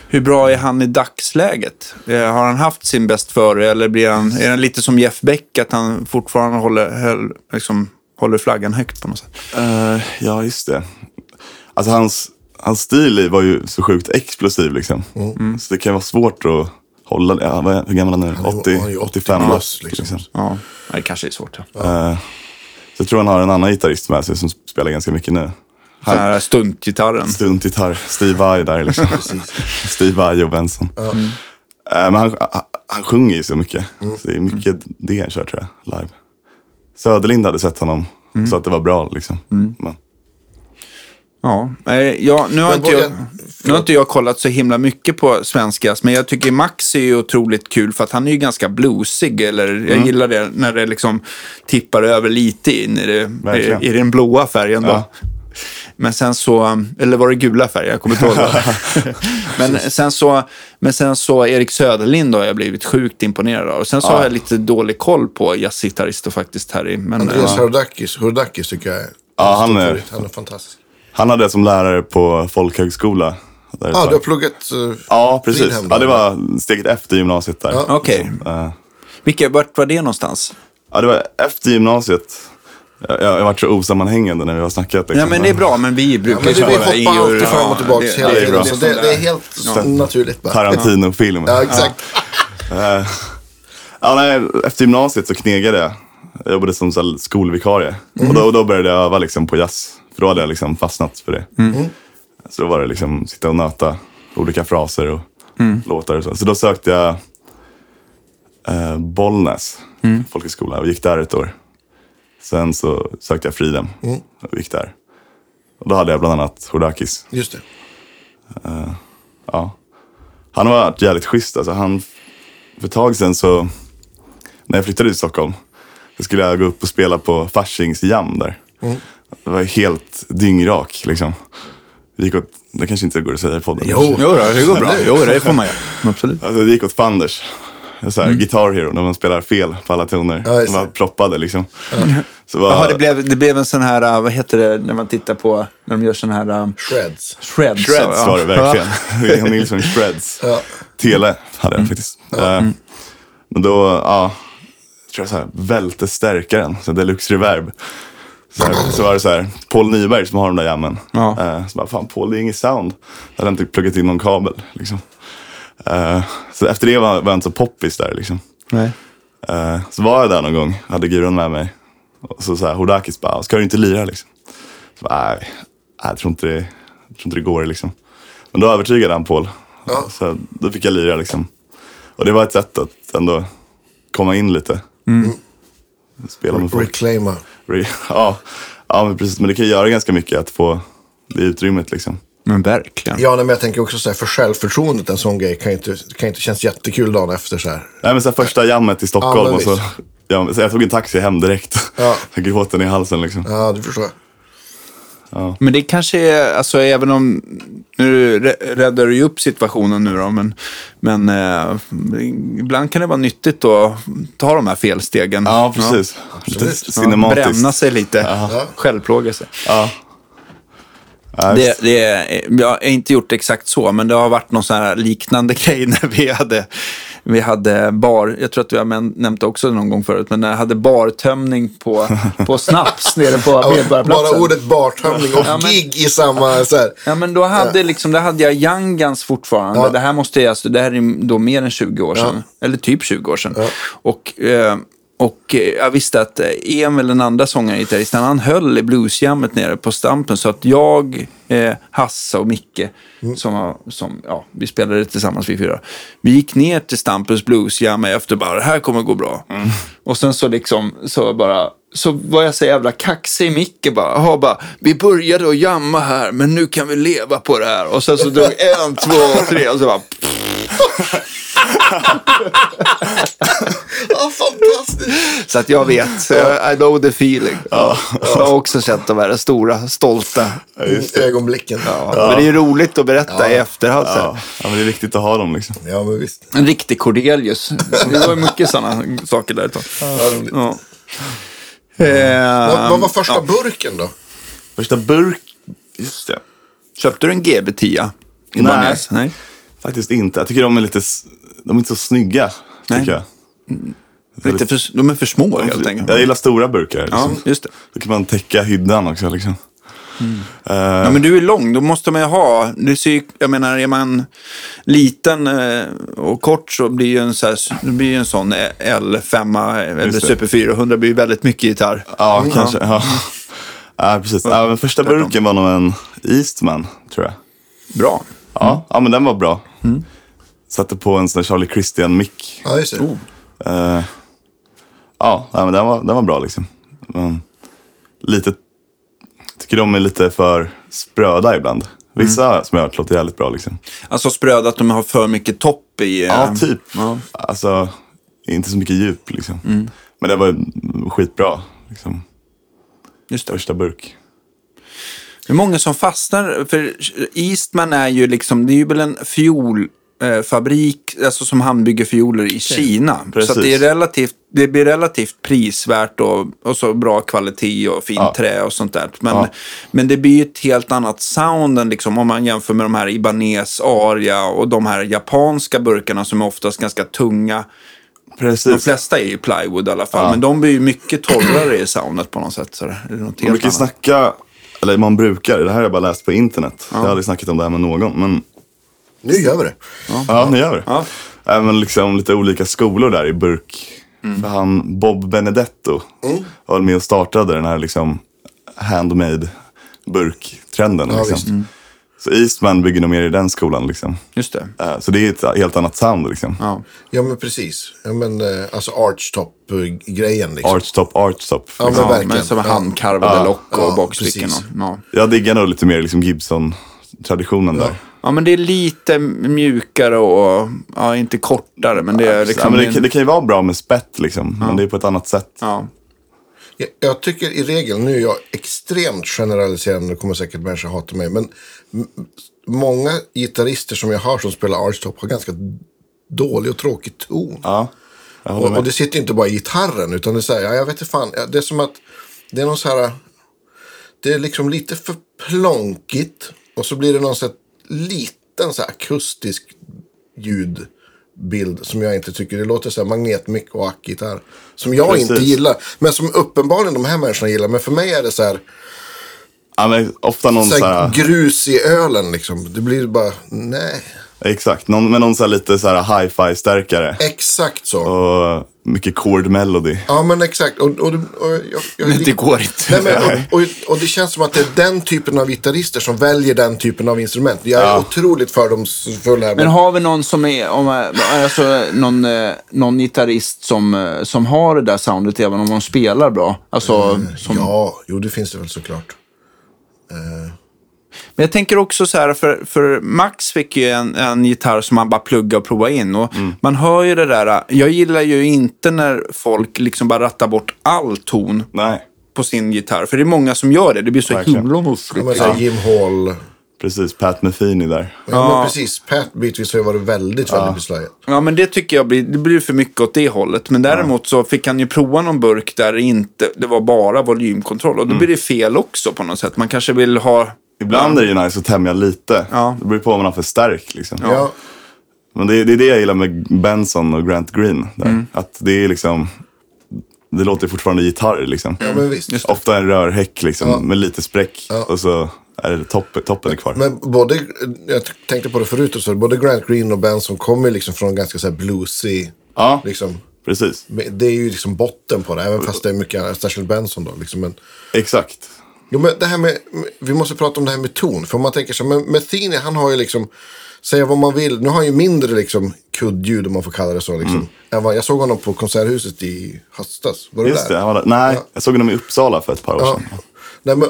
hur bra är han i dagsläget? Eh, har han haft sin bäst före eller blir han, är han lite som Jeff Beck, att han fortfarande håller, höll, liksom, håller flaggan högt på något sätt?
Eh, ja, just det. Alltså
Mm.
Mm. hans, hans stil var ju så sjukt explosiv liksom. Så det kan vara svårt att hålla det. Ja, vad är- hur gammal är han nu?
Han är-
80,
han är ju
85
plus,
bast,
liksom.
liksom.
Ja, det kanske är svårt. Ja.
Eh, så jag tror han har en annan gitarrist med sig som spelar ganska mycket nu.
Så här stuntgitarren.
Stuntgitarr, Steve Vai där liksom. Steve Vai och Benson. Eh, Men han, han, han sjunger ju så mycket.
Mm.
Så det är mycket det han kör tror jag, live. Söderlind hade sett honom
Mm.
och sa att det var bra liksom. Men,
Ja, nej, ja, nu, har
Men
inte jag,
Borgen-
nu har inte jag kollat så himla mycket på svensk jazz, men jag tycker Max är ju otroligt kul för att han är ju ganska bluesig. Eller, Jag gillar det när det liksom tippar över lite in i, det,
Verkligen.
i, i den blåa färgen. Då. Men sen så, eller var det gula färger? Jag kommer inte ihåg. vad. men, sen så, men sen så, Erik Söderlind då har jag blivit sjukt imponerad av. Och sen så har jag lite dålig koll på jazzgitarrister faktiskt här i. Men, eh,
Andreas
ja.
Hurdakis, Hurdakis tycker jag är...
Ja, han är-
Han är fantastisk.
han hade det som lärare på folkhögskola. Där ett
Ja,
tag.
du har pluggat... eh,
ja, precis.
Fridhem då,
Ja, det var steget efter gymnasiet där.
Ja.
Okej,
Eh,
Vilka, vart var det någonstans?
Ja, det var efter gymnasiet. Jag, jag har varit så osammanhängande när vi har snackat. Liksom.
Ja, men det är bra, men vi brukar
Men det, vi
köra i
hoppar alltid
ja,
fram och tillbaka
det-
hela
det är
tiden.
bra.
så det, det är helt naturligt bara.
Tarantino-film.
Ja, exakt.
Ja, nej, efter gymnasiet så knegade jag. Jag jobbade som så här skolvikarie. Och, då, och då började jag öva liksom, på jazz. För då hade jag liksom fastnat för det. Så då var det liksom sitta och nöta olika fraser och låtar. Och så. så då sökte jag eh, Bollnäs folkhögskola och gick där ett år. Sen så sökte jag Freedom och gick där. Och då hade jag bland annat Hodakis.
Just det.
Ja. Han har varit jävligt schysst. Alltså, han, för ett tag sedan så, när jag flyttade till Stockholm, så skulle jag gå upp och spela på Faschings jam där.
Mm.
Det var helt dyngrak liksom. Det, gick åt, det kanske inte går att säga i podden.
Jo, jo då, det går bra. Jo, det får man göra. Absolut.
Alltså, det gick åt fanders. Så
Mm.
här, Guitar Hero, när man spelar fel på alla toner.
Ja, just
de var
det.
proppade liksom. Så bara,
Jaha, det blev, det blev en sån här, äh, vad heter det, när man tittar på, när de gör sån här äh,
Shreds.
shreds.
Shreds
ja. Mm.
var det verkligen. William Nilsson Shreds.
Ja.
Tele hade jag faktiskt. Eh, Men då, ja. Tror jag så här, välte stärkaren, så deluxe reverb. Så, här, så var det så här, Paul Nyberg som har de där jammen.
Ja.
Eh, Så bara, fan Paul det är inget sound. Jag hade inte pluggat in någon kabel liksom. Eh, Så efter det var, var jag inte så poppis där liksom.
Ja. Nej.
Eh, Så var jag där någon gång, hade guron med mig. Och så så här, Hodakis bara, ska du inte lira liksom? Så bara, nej, nej, jag tror inte det, jag tror inte det går liksom. Men då övertygade han Paul.
Ja.
Så då fick jag lira liksom. Och det var ett sätt att ändå komma in lite.
Mm.
Spela med folk.
Reclaima.
Re- Ja, ja men precis. Men det kan ju göra ganska mycket att få det utrymmet liksom.
Men verkligen.
Ja, nej, men jag tänker också så här, för självförtroendet en sån grej kan ju inte, kan ju inte kännas jättekul dagen efter så här.
Nej men så här, första jammet i
Ja,
Stockholm.
men
och så, ja, så jag tog en taxi hem direkt.
Ja.
Gråten i halsen liksom.
Ja, det förstår jag.
Men det kanske är, alltså även om, nu rä- räddar du ju upp situationen nu då, men, men eh, ibland kan det vara nyttigt att ta de här felstegen.
Ja, precis. Lite
absolut.
cinematiskt.
Bränna sig lite, självplåga sig.
Ja. Ja,
Det,
visst.
det är, eh, jag har inte gjort exakt så, men det har varit någon sån här liknande grej när vi hade, vi hade bar, jag tror att vi har men- nämnt det också någon gång förut, men när jag hade bartömning på, på snaps nere på
Ja,
Medborgarplatsen.
bara ordet bartömning och
Ja, men-
gig i samma så här.
Ja, men då hade, liksom, då hade jag Youngans fortfarande.
Ja.
Det här måste jag, alltså, det här är då mer än 20 år sedan. Eller typ 20 år sedan. Och, eh, och eh, jag visste att eh, Emil, den andra sångaren, gitarristen, han höll i bluesjammet nere på Stampen. Så att jag, eh, Hassa och Micke, som, har- som ja, vi spelade tillsammans vi fyra. Vi gick ner till Stampens bluesjam efter bara, det här kommer gå bra. Och sen så liksom, så bara, så var jag så jävla kaxig i micken bara. Aha, bara. Vi började att jamma här, men nu kan vi leva på det här. Och sen så drog en, två, tre och så bara...
Ja, fantastiskt.
Så att jag vet. Så jag, I know the feeling. Jag har också sett de här stora, stolta.
Ögonblicken. Ja.
Men det är ju roligt att berätta i efterhand. så här.
ja. ja, men det är viktigt att ha dem liksom.
men visst.
En riktig Cordelius. Det var ju mycket sådana saker därifrån. Ja.
Vad-
Eh,
Vad var första burken då?
Första burk... Just det.
köpte du en GB10? I
Nej.
Bangladesh? Nej.
Faktiskt inte. Jag tycker de är lite... s- De är inte så snygga,
Nej.
tycker jag.
Lite för, de är för små helt enkelt.
Jag gillar stora burkar. Liksom.
Ja, just det.
Då kan man täcka hyddan också. Liksom. Eh,
Ja, men du är lång, då måste man ju ha. Du ser, ju- jag menar, är man liten eh, och kort så blir ju en, så här, det blir ju en sån L5 eller
Just det.
Super 400 blir ju väldigt mycket gitarr. Mm.
Ja, kanske. Ja. Ja, precis. Ja, men första burken var nog en Eastman, tror jag.
Bra.
Ja,
Mm.
ja men den var bra. Satte på en sån där Charlie Christian-mick.
Ja, just det.
Eh, ja, nej, men den var, den var bra liksom. Men lite, tycker de är lite för spröda ibland. Vissa
Mm.
som jag har hört låter jävligt bra liksom.
Alltså spröda att de har för mycket topp i... eh,
Ja, typ.
ja. Mm.
Alltså, inte så mycket djup liksom. Men det var ju skitbra. Liksom.
Just det.
Första burk.
Hur många som fastnar? För Eastman är ju liksom, det är ju väl en fiolfabrik, alltså som handbygger fioler i Kina. Så
Precis.
att det, är relativt, det blir relativt prisvärt och, och så bra kvalitet och fint
Ja.
trä och sånt där. Men,
Ja.
men det blir ju ett helt annat sound än liksom, om man jämför med de här Ibanez, Aria och de här japanska burkarna som är oftast ganska tunga. De
Precis.
flesta är ju plywood i alla fall, men de blir ju mycket torrare i soundet på något sätt. Så det är något
Man
helt
brukar ju
annat.
snacka, eller man brukar, det här har jag bara läst på internet. Jag har aldrig snackat om det här med någon. Men
Nu gör vi det.
ja, nu gör vi det.
Ja.
Även liksom lite olika skolor där i burk. För han, Bob Benedetto, var med och startade den här liksom handmade burktrenden.
Ja, visst.
liksom. Så Eastman bygger nog mer i den skolan. Liksom.
Just det.
Eh, Så det är ett helt annat sound. Liksom.
Ja.
Ja, men precis. Ja, men, eh, alltså archtop-grejen liksom.
Archtop, archtop.
Ja, men
liksom.
verkligen.
Men som
Ja.
handkarvade lock och
ja,
bakstycken.
precis.
och- Ja.
Jag diggar nog lite mer liksom Gibson-traditionen där.
ja, men det är lite mjukare och ja, inte kortare. Men det är
ja,
liksom...
men det, kan- det kan ju vara bra med spett, liksom, men det är på ett annat sätt.
ja.
Jag, jag tycker i regel, nu är jag extremt generaliserande, och kommer säkert människor hata mig, men m- många gitarrister som jag hör som spelar archtop har ganska dålig och tråkig ton.
Ja, jag håller
Och,
med.
och det sitter inte bara i gitarren, utan det är så här, ja, jag vet inte fan, ja, det är som att det är någon så här, det är liksom lite för plonkigt och så blir det någon så här liten så här akustisk ljudbild som jag inte tycker, det låter så här magnetmick och ackgitarr. Som jag
Precis.
inte gillar, men som uppenbarligen de här människorna gillar, men för mig är det så här,
Ja, men ofta någon
så
så
här
här,
grus i ölen liksom. Det blir bara, nej,
exakt, någon, men någon så här lite så här hi-fi-stärkare.
exakt så.
Och mycket chord melody.
Ja men exakt. Och, och, det- och, jag, jag,
Men det går inte.
Nej, men, och, och, och det känns som att det är den typen av gitarrister som väljer den typen av instrument. Jag är otroligt fördomsfull här.
Men
Men,
har vi någon som är, om, eh, alltså, någon, eh, någon gitarrist som, eh, som har det där soundet även om de spelar bra? Alltså, som,
ja, jo det finns det väl såklart.
Men jag tänker också så här, för, för Max fick ju en, en gitarr som han bara pluggade och provade in. Och Man hör ju det där, eh, jag gillar ju inte när folk liksom bara rattar bort all ton
Nej,
på sin gitarr. För det är många som gör det, det blir så
Verkligen.
himla
Ja, men,
muffigt.
så här, Jim Hall. Ja,
precis. Pat Metheny där.
men precis. Pat bitvis har ju varit väldigt, väldigt beslöjad.
Ja, men det tycker jag blir, det blir för mycket åt det hållet. Men däremot så fick han ju prova någon burk där det inte, det var bara volymkontroll. Och då blir det fel också på något sätt. Man kanske vill ha...
Ibland är det ju nice att tämja lite.
Ja.
Det beror på vad man har för stärk. Liksom.
Ja.
Men det, det är det jag gillar med Benson och Grant Green. Där.
Mm.
Att det är liksom... Det låter fortfarande gitarr liksom.
Ja, men visst.
Ofta en rörhäck liksom, med lite spräck. Och så är det toppen, toppen är kvar.
Men både, jag tänkte på det förut, och så, både Grant Green och Benson kommer ju liksom från ganska så här bluesy,
ja,
liksom.
precis.
Men Det är ju liksom botten på det, även fast det är mycket annat, särskilt Benson då. Liksom. Men,
Exakt.
Jo, men det här med, vi måste prata om det här med ton. För om man tänker så, men Metheny han har ju liksom, säga vad man vill, nu har han ju mindre liksom kuddljud om man får kalla det så. Liksom,
Mm.
än vad, jag såg honom på Konserthuset i höstas. Var du
Just
där?
det, han var där. Nej, jag såg honom i Uppsala för ett par år
Ja.
sedan.
Nej, men,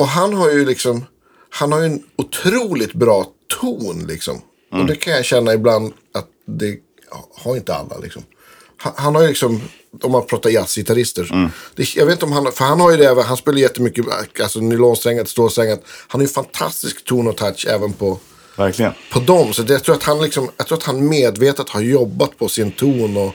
och han har ju liksom, han har ju en otroligt bra ton liksom. Och det kan jag känna ibland att det har inte alla liksom. Han, han har ju liksom, om man pratar jazzgitarrister. Det, jag vet inte om han, för han har ju det, även- han spelar jättemycket alltså, nylonsträngat, stålsträngat. Han har ju fantastisk ton och touch även på,
Verkligen.
på dem. Så det, jag, tror att han liksom, jag tror att han medvetet har jobbat på sin ton och,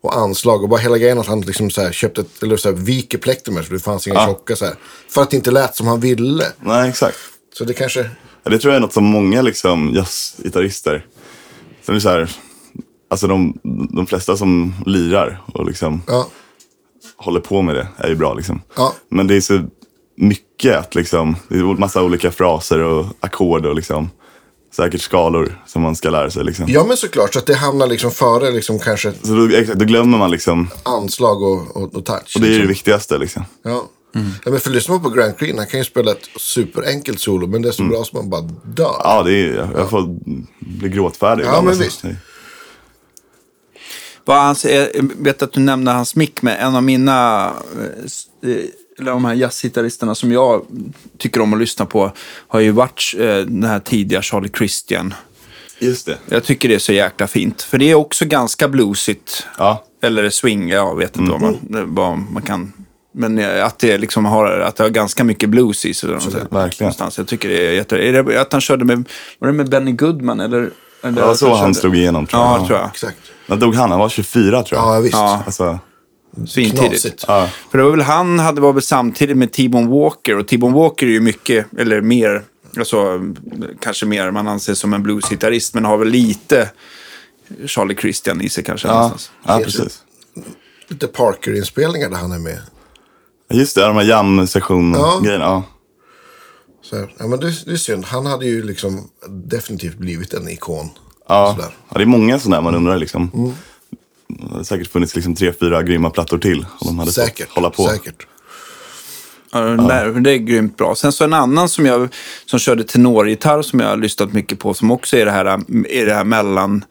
och anslag. Och bara hela grejen att han liksom så här köpte ett, eller så här viker plektrumet så det fanns inga tjocka så här. För att det inte lät som han ville.
Nej, exakt.
Så det kanske...
Ja, Det tror jag är något som många liksom, jazzgitarrister, som är så här, alltså de, de flesta som lirar och liksom
Ja,
håller på med det är ju bra. Liksom.
Ja.
Men det är så mycket mycket. Att liksom, det är massa olika fraser och ackord och liksom, säkert skalor som man ska lära sig. Liksom.
Ja, men såklart. Så att det hamnar liksom före liksom kanske
Så då, exakt, då glömmer man liksom,
anslag och, och, och touch.
och det är ju det viktigaste. Liksom.
Ja. Ja, men för lyssnar man på Grant Green, han kan ju spela ett superenkelt solo, men det är så bra som man bara dör.
Mm. Ja, det är, jag, jag får bli gråtfärdig.
Ja,
ibland,
men
alltså.
visst.
Vad hans, jag vet att du nämnde hans mick, men en av mina, eh, s- eh, eller de här jazzgitarristerna som jag tycker om att lyssna på har ju varit eh, den här tidiga Charlie Christian.
Just det.
Jag tycker det är så jäkla fint, för det är också ganska bluesigt.
Ja.
Eller swing, jag vet inte vad,
Mm.
man, vad man kan... Men eh, att det, liksom har, att det har ganska mycket blues i sig. Så
verkligen.
Någonstans. Jag tycker det är jätte... Är det att han körde med... Var det med Benny Goodman eller? eller
Det var
att
så han
körde-
slog igenom tror jag.
Ja, tror jag.
Exakt.
När dog han? Han var 24 tror jag.
Ja, visst.
Ja.
Alltså,
Svintidigt.
Knasigt.
Ja.
För det var väl han hade var väl samtidigt med T-Bone Walker. Och T-Bone Walker är ju mycket, eller mer, alltså kanske mer man anses som en bluesgitarrist. Men har väl lite Charlie Christian i sig kanske.
ja.
någonstans.
ja, precis.
Lite Parker-inspelningar där han är med.
Just det, de här
Ja.
jam-session-grejerna. Ja.
Så, här, ja, men det, det är synd. Han hade ju liksom definitivt blivit en ikon.
Ja.
Sådär. Mm.
ja, det är många sådana där man undrar liksom. Det har säkert funnits liksom tre, fyra grymma plattor till. Om de hade
Säkert.
fått hålla på.
Säkert.
Ja, den där, det är grymt bra. Sen så en annan som, jag, som körde tenorgitarr som jag har lyssnat mycket på som också är det här, är det här mellan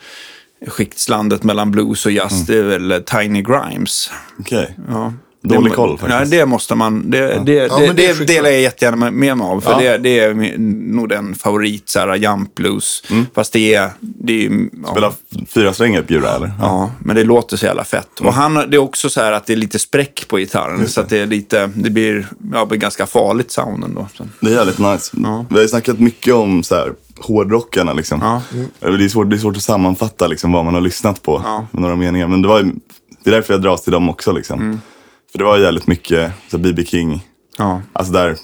skiktslandet mellan blues och
Mm.
jazz. Det är väl Tiny Grimes.
Okej.
Ja.
Dålig
det,
koll faktiskt.
Nej, det måste man. Det, det, det,
men det är
det
skitbra.
delar jag jättegärna med- med mig av. För
Ja.
det, det är min- nog den favorit, så här, jump blues.
Mm.
Fast det är... Det är ju- ja.
Spela fyra strängar på Jura, eller?
Ja, men det låter så jävla fett. Och han, det är också så här att det är lite spräck på gitarren. Så att det, är lite, det blir, ja, blir ganska farligt sounden då. Så.
Det är jävligt nice. Vi har ju snackat mycket om så här, hårdrockarna. Liksom.
Ja.
Det, är svårt, det är svårt att sammanfatta liksom, vad man har lyssnat på
Ja.
med några meningar. Men det, var, ju- det är därför jag dras till dem också. Liksom.
Mm.
För det var ju jävligt mycket så här, B.B. King.
Ja.
Alltså där,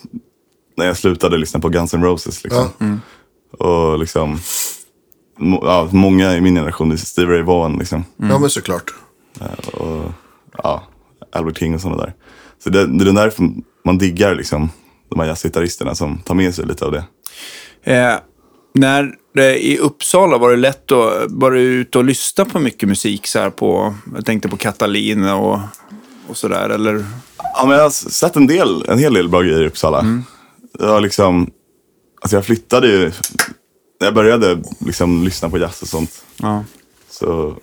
när jag slutade lyssna på Guns N' Roses. Liksom. Och liksom, må, ja, många i min generation, det är Steve Ray Vaughan. Liksom.
Ja, men såklart.
Ja, Albert King och sådana där. Så det, det är därför man diggar liksom, de här jazzgitarristerna som tar med sig lite av det.
Eh, när det, I Uppsala var det lätt att var du ute och lyssna på mycket musik. Så här på, jag tänkte på Katalin och, och sådär. Eller?
Ja, men jag har s- sett en, del, en hel del bra grejer i Uppsala. Jag, har liksom, alltså jag flyttade ju... När jag började liksom lyssna på jazz och sånt
Ja.
så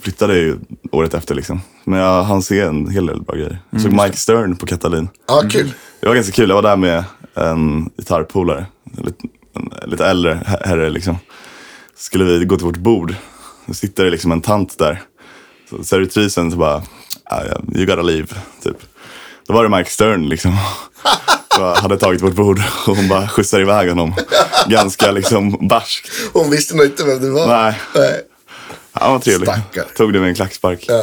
flyttade jag ju året efter. Liksom. Men jag hann se en hel del bra grejer. Jag såg
Mm,
Mike Stern på Katalin.
Ja, kul.
Det var ganska kul. Jag var där med en gitarrpolare. En lite, en lite äldre her- herre liksom. Så skulle vi gå till vårt bord. Då sitter det liksom en tant där. Så servitrisen så bara, "Ah, ja, you gotta leave, typ. Då var det Mike Stern liksom. Så jag hade tagit vårt bord och hon bara skjutsar iväg honom. Ganska liksom barskt.
Hon visste nog inte vem det var.
Nej.
Nej.
Han var trevlig.
Stackare.
Tog det med en klackspark.
Ja.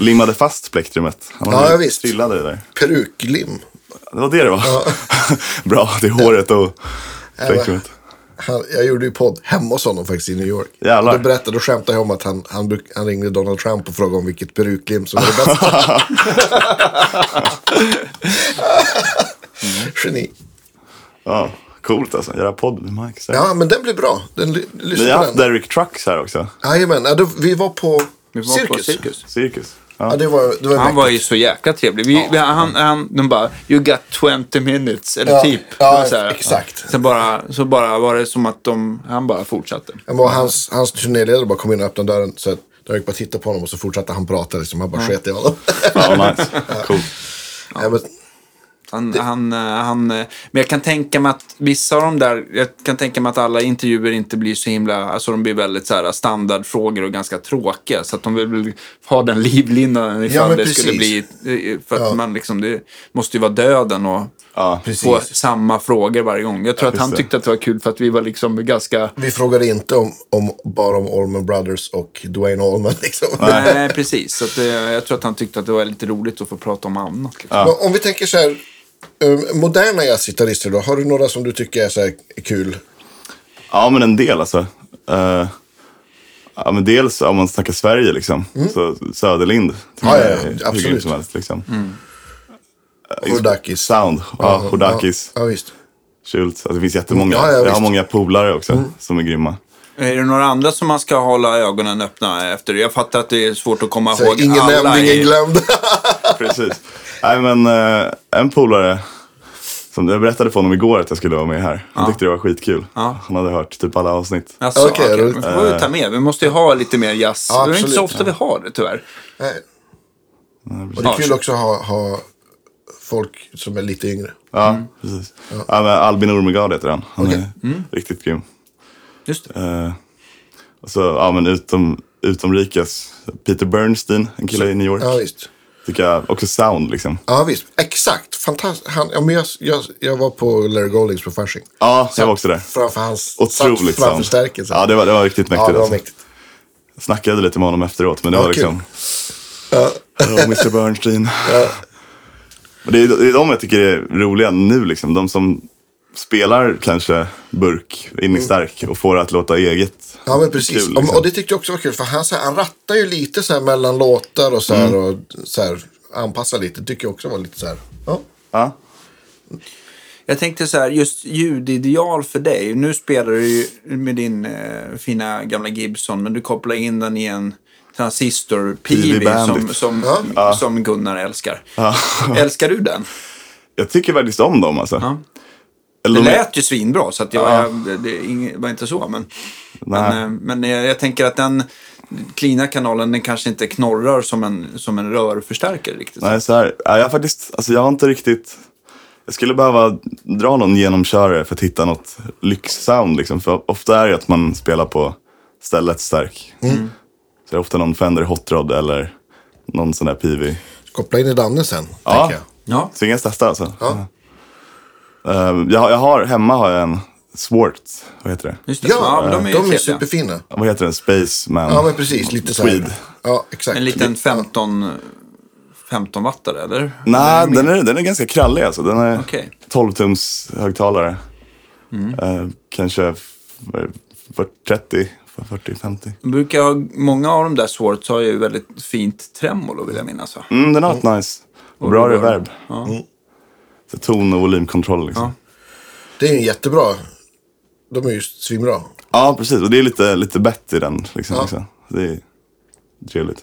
Limmade fast plektrumet. Han
Ja,
hade
ja, visst.
trillade det där.
Peruklim.
Det var det det var. Bra, det är håret och plektrumet.
Han, jag gjorde ju podd hemma hos honom faktiskt i New York.
Jävlar.
Då berättade och skämtade jag om att han, han, bruk, han ringde Donald Trump och frågade om vilket peruklim som var det bästa.
Mm.
Geni.
Ja, coolt alltså. Göra podd med Mike. Ja.
Ja, men den blir bra. Den, ly- lyssna
Ni har
på
haft
den.
Derek Trucks här också.
Jajamän, ja, då, vi var på
var på
cirkus.
cirkus.
Cirkus.
Ja,
Ja.
det var, det var
Han
mäktigt.
var ju så jäkla trevlig. Vi, vi, han, han, de bara, you got 20 minutes, eller
Ja,
typ.
ja,
Det var så här.
exakt.
Sen bara, så bara var det som att de, han bara fortsatte.
Han var hans, hans turnéledare bara kom in och öppnade dörren. Så att jag gick bara titta på honom och så fortsatte han prata. Liksom. Han bara sket i honom.
Ja, nice. Coolt.
Nej, men,
Han, han, eh, han, eh, men jag kan tänka mig att vissa av de där, jag kan tänka mig att alla intervjuer inte blir så himla, alltså de blir väldigt så här standardfrågor och ganska tråkiga. Så att de vill väl ha den livlinan ifall
men
det skulle bli,
precis.
eh, för att man liksom, det måste ju vara döden och
Ja,
få
precis.
samma frågor varje gång. Jag tror att
just
han
det.
tyckte att det var kul för att vi var liksom ganska,
vi frågade inte om, om, bara om Allman Brothers och Dwayne Allman. Liksom.
nej precis. Så att, eh, jag tror att han tyckte att det var lite roligt att få prata om annat. Liksom.
Men Om vi tänker så här, eh, moderna jazzgitarrister då, har du några som du tycker är så här kul?
Ja, men en del alltså. Eh, ja, men dels om man snackar Sverige liksom. Så Söderlind. tycker
Mm. Ja, ja,
jag
ja,
är hur
absolut.
grym Som helst, liksom.
Hodakis.
Sound. Ja, Hodakis.
Ja, ja, visst.
Schultz. Alltså, det finns jättemånga.
Ja, ja,
jag
visst. Mm.
har många polare också som är grymma.
Är det några andra som man ska hålla ögonen öppna efter? Jag fattar att det är svårt att komma
Så
ihåg
ingen
alla.
nämnd, ingen
i-
glömd.
Precis. Nej, men eh, en polare, som jag berättade för honom igår att jag skulle vara med här. Han tyckte det var skitkul. Han hade hört typ alla avsnitt.
Alltså,
Okej,
okej.
roligt.
Men får vi ta med. Vi måste ju ha lite mer jazz.
Ja,
det är inte så
absolut.
ofta vi har det tyvärr.
Nej. Och det är kul också att ha, ha folk som är lite yngre.
Ja, precis. Ja. men Albin Ormegard heter han. Han
Okej.
är riktigt grym.
Just det.
Eh, och så, ja, men utom, utomrikes, Peter Bernstein, en kille i New York.
Ja, visst.
Tycker jag, också sound liksom.
Ja, visst. Exakt. Fantastiskt. Han, ja, men jag, jag, jag var på Larry Goldings på Fasching.
Ja, jag var också där.
Framför hans... satt
Otroligt
Framför
sound.
stärkelsen.
Ja, det var, det var riktigt mäktigt.
Ja, det var
alltså.
mäktigt.
Snackade lite med honom efteråt, men det
Ja,
var
kul.
liksom... Hello, Mr Bernstein. Och det, är, det är de jag tycker är roliga nu, liksom. De som spelar kanske burk in i stark och får det att låta eget.
Mm. Ja, men precis.
Kul, liksom.
och, och det tyckte jag också var kul. För han, så här, han rattar ju lite så här mellan låtar och så här.
Mm.
Och, så här anpassar lite. Tycker jag också var lite så här. Ja.
Ja,
Jag tänkte så här, just ljudideal för dig. Nu spelar du ju med din eh, fina gamla Gibson, men du kopplar in den i en transistor
PV
PV som,
Bandit.
som,
Ja.
som Gunnar älskar. Älskar du den?
jag tycker faktiskt om dem alltså. Eller
Det
de är-
lät ju svinbra, så att jag, jag, det är ing- var inte så. Men, men,
Nej.
eh, men jag, jag tänker att den klina kanalen, den kanske inte knorrar som en, som en rörförstärkare riktigt.
Nej, så här, ja, jag har faktiskt, alltså jag har inte riktigt, jag skulle behöva dra någon genomkörare för att hitta något lyxsound liksom. För ofta är det att man spelar på stället stark.
Mm.
Så det är ofta någon Fender Hot Rod eller någon sån där PV.
Koppla in i Danne sen.
Ja,
Tänker jag.
Ja,
tvingas testa alltså.
Ja.
Ehm, jag, har- jag har, hemma har jag en Swartz, vad heter
Mm.
det?
just det.
Ja,
men
de är, de är
trevliga.
superfina.
Vad heter den? Spaceman?
Ja, men precis. Lite så
Tweed.
här. Ja, exakt.
En liten 15, 15 wattare, eller?
Nej, den är, den är ganska krallig alltså. Den är
Okej.
12-tums högtalare. Eh, kanske f- eh, f- 30, 40, 50.
De Brukar ha, många av de där Swartz har ju väldigt fint tremolo, vill jag minnas. va?
Mm, den har ett nice. Och bra
reverb.
reverb. Så ton och volymkontroll liksom.
Det är ju jättebra. De är ju svinbra.
Ja, precis. Och det är lite, lite bett i den liksom också. Det är trevligt.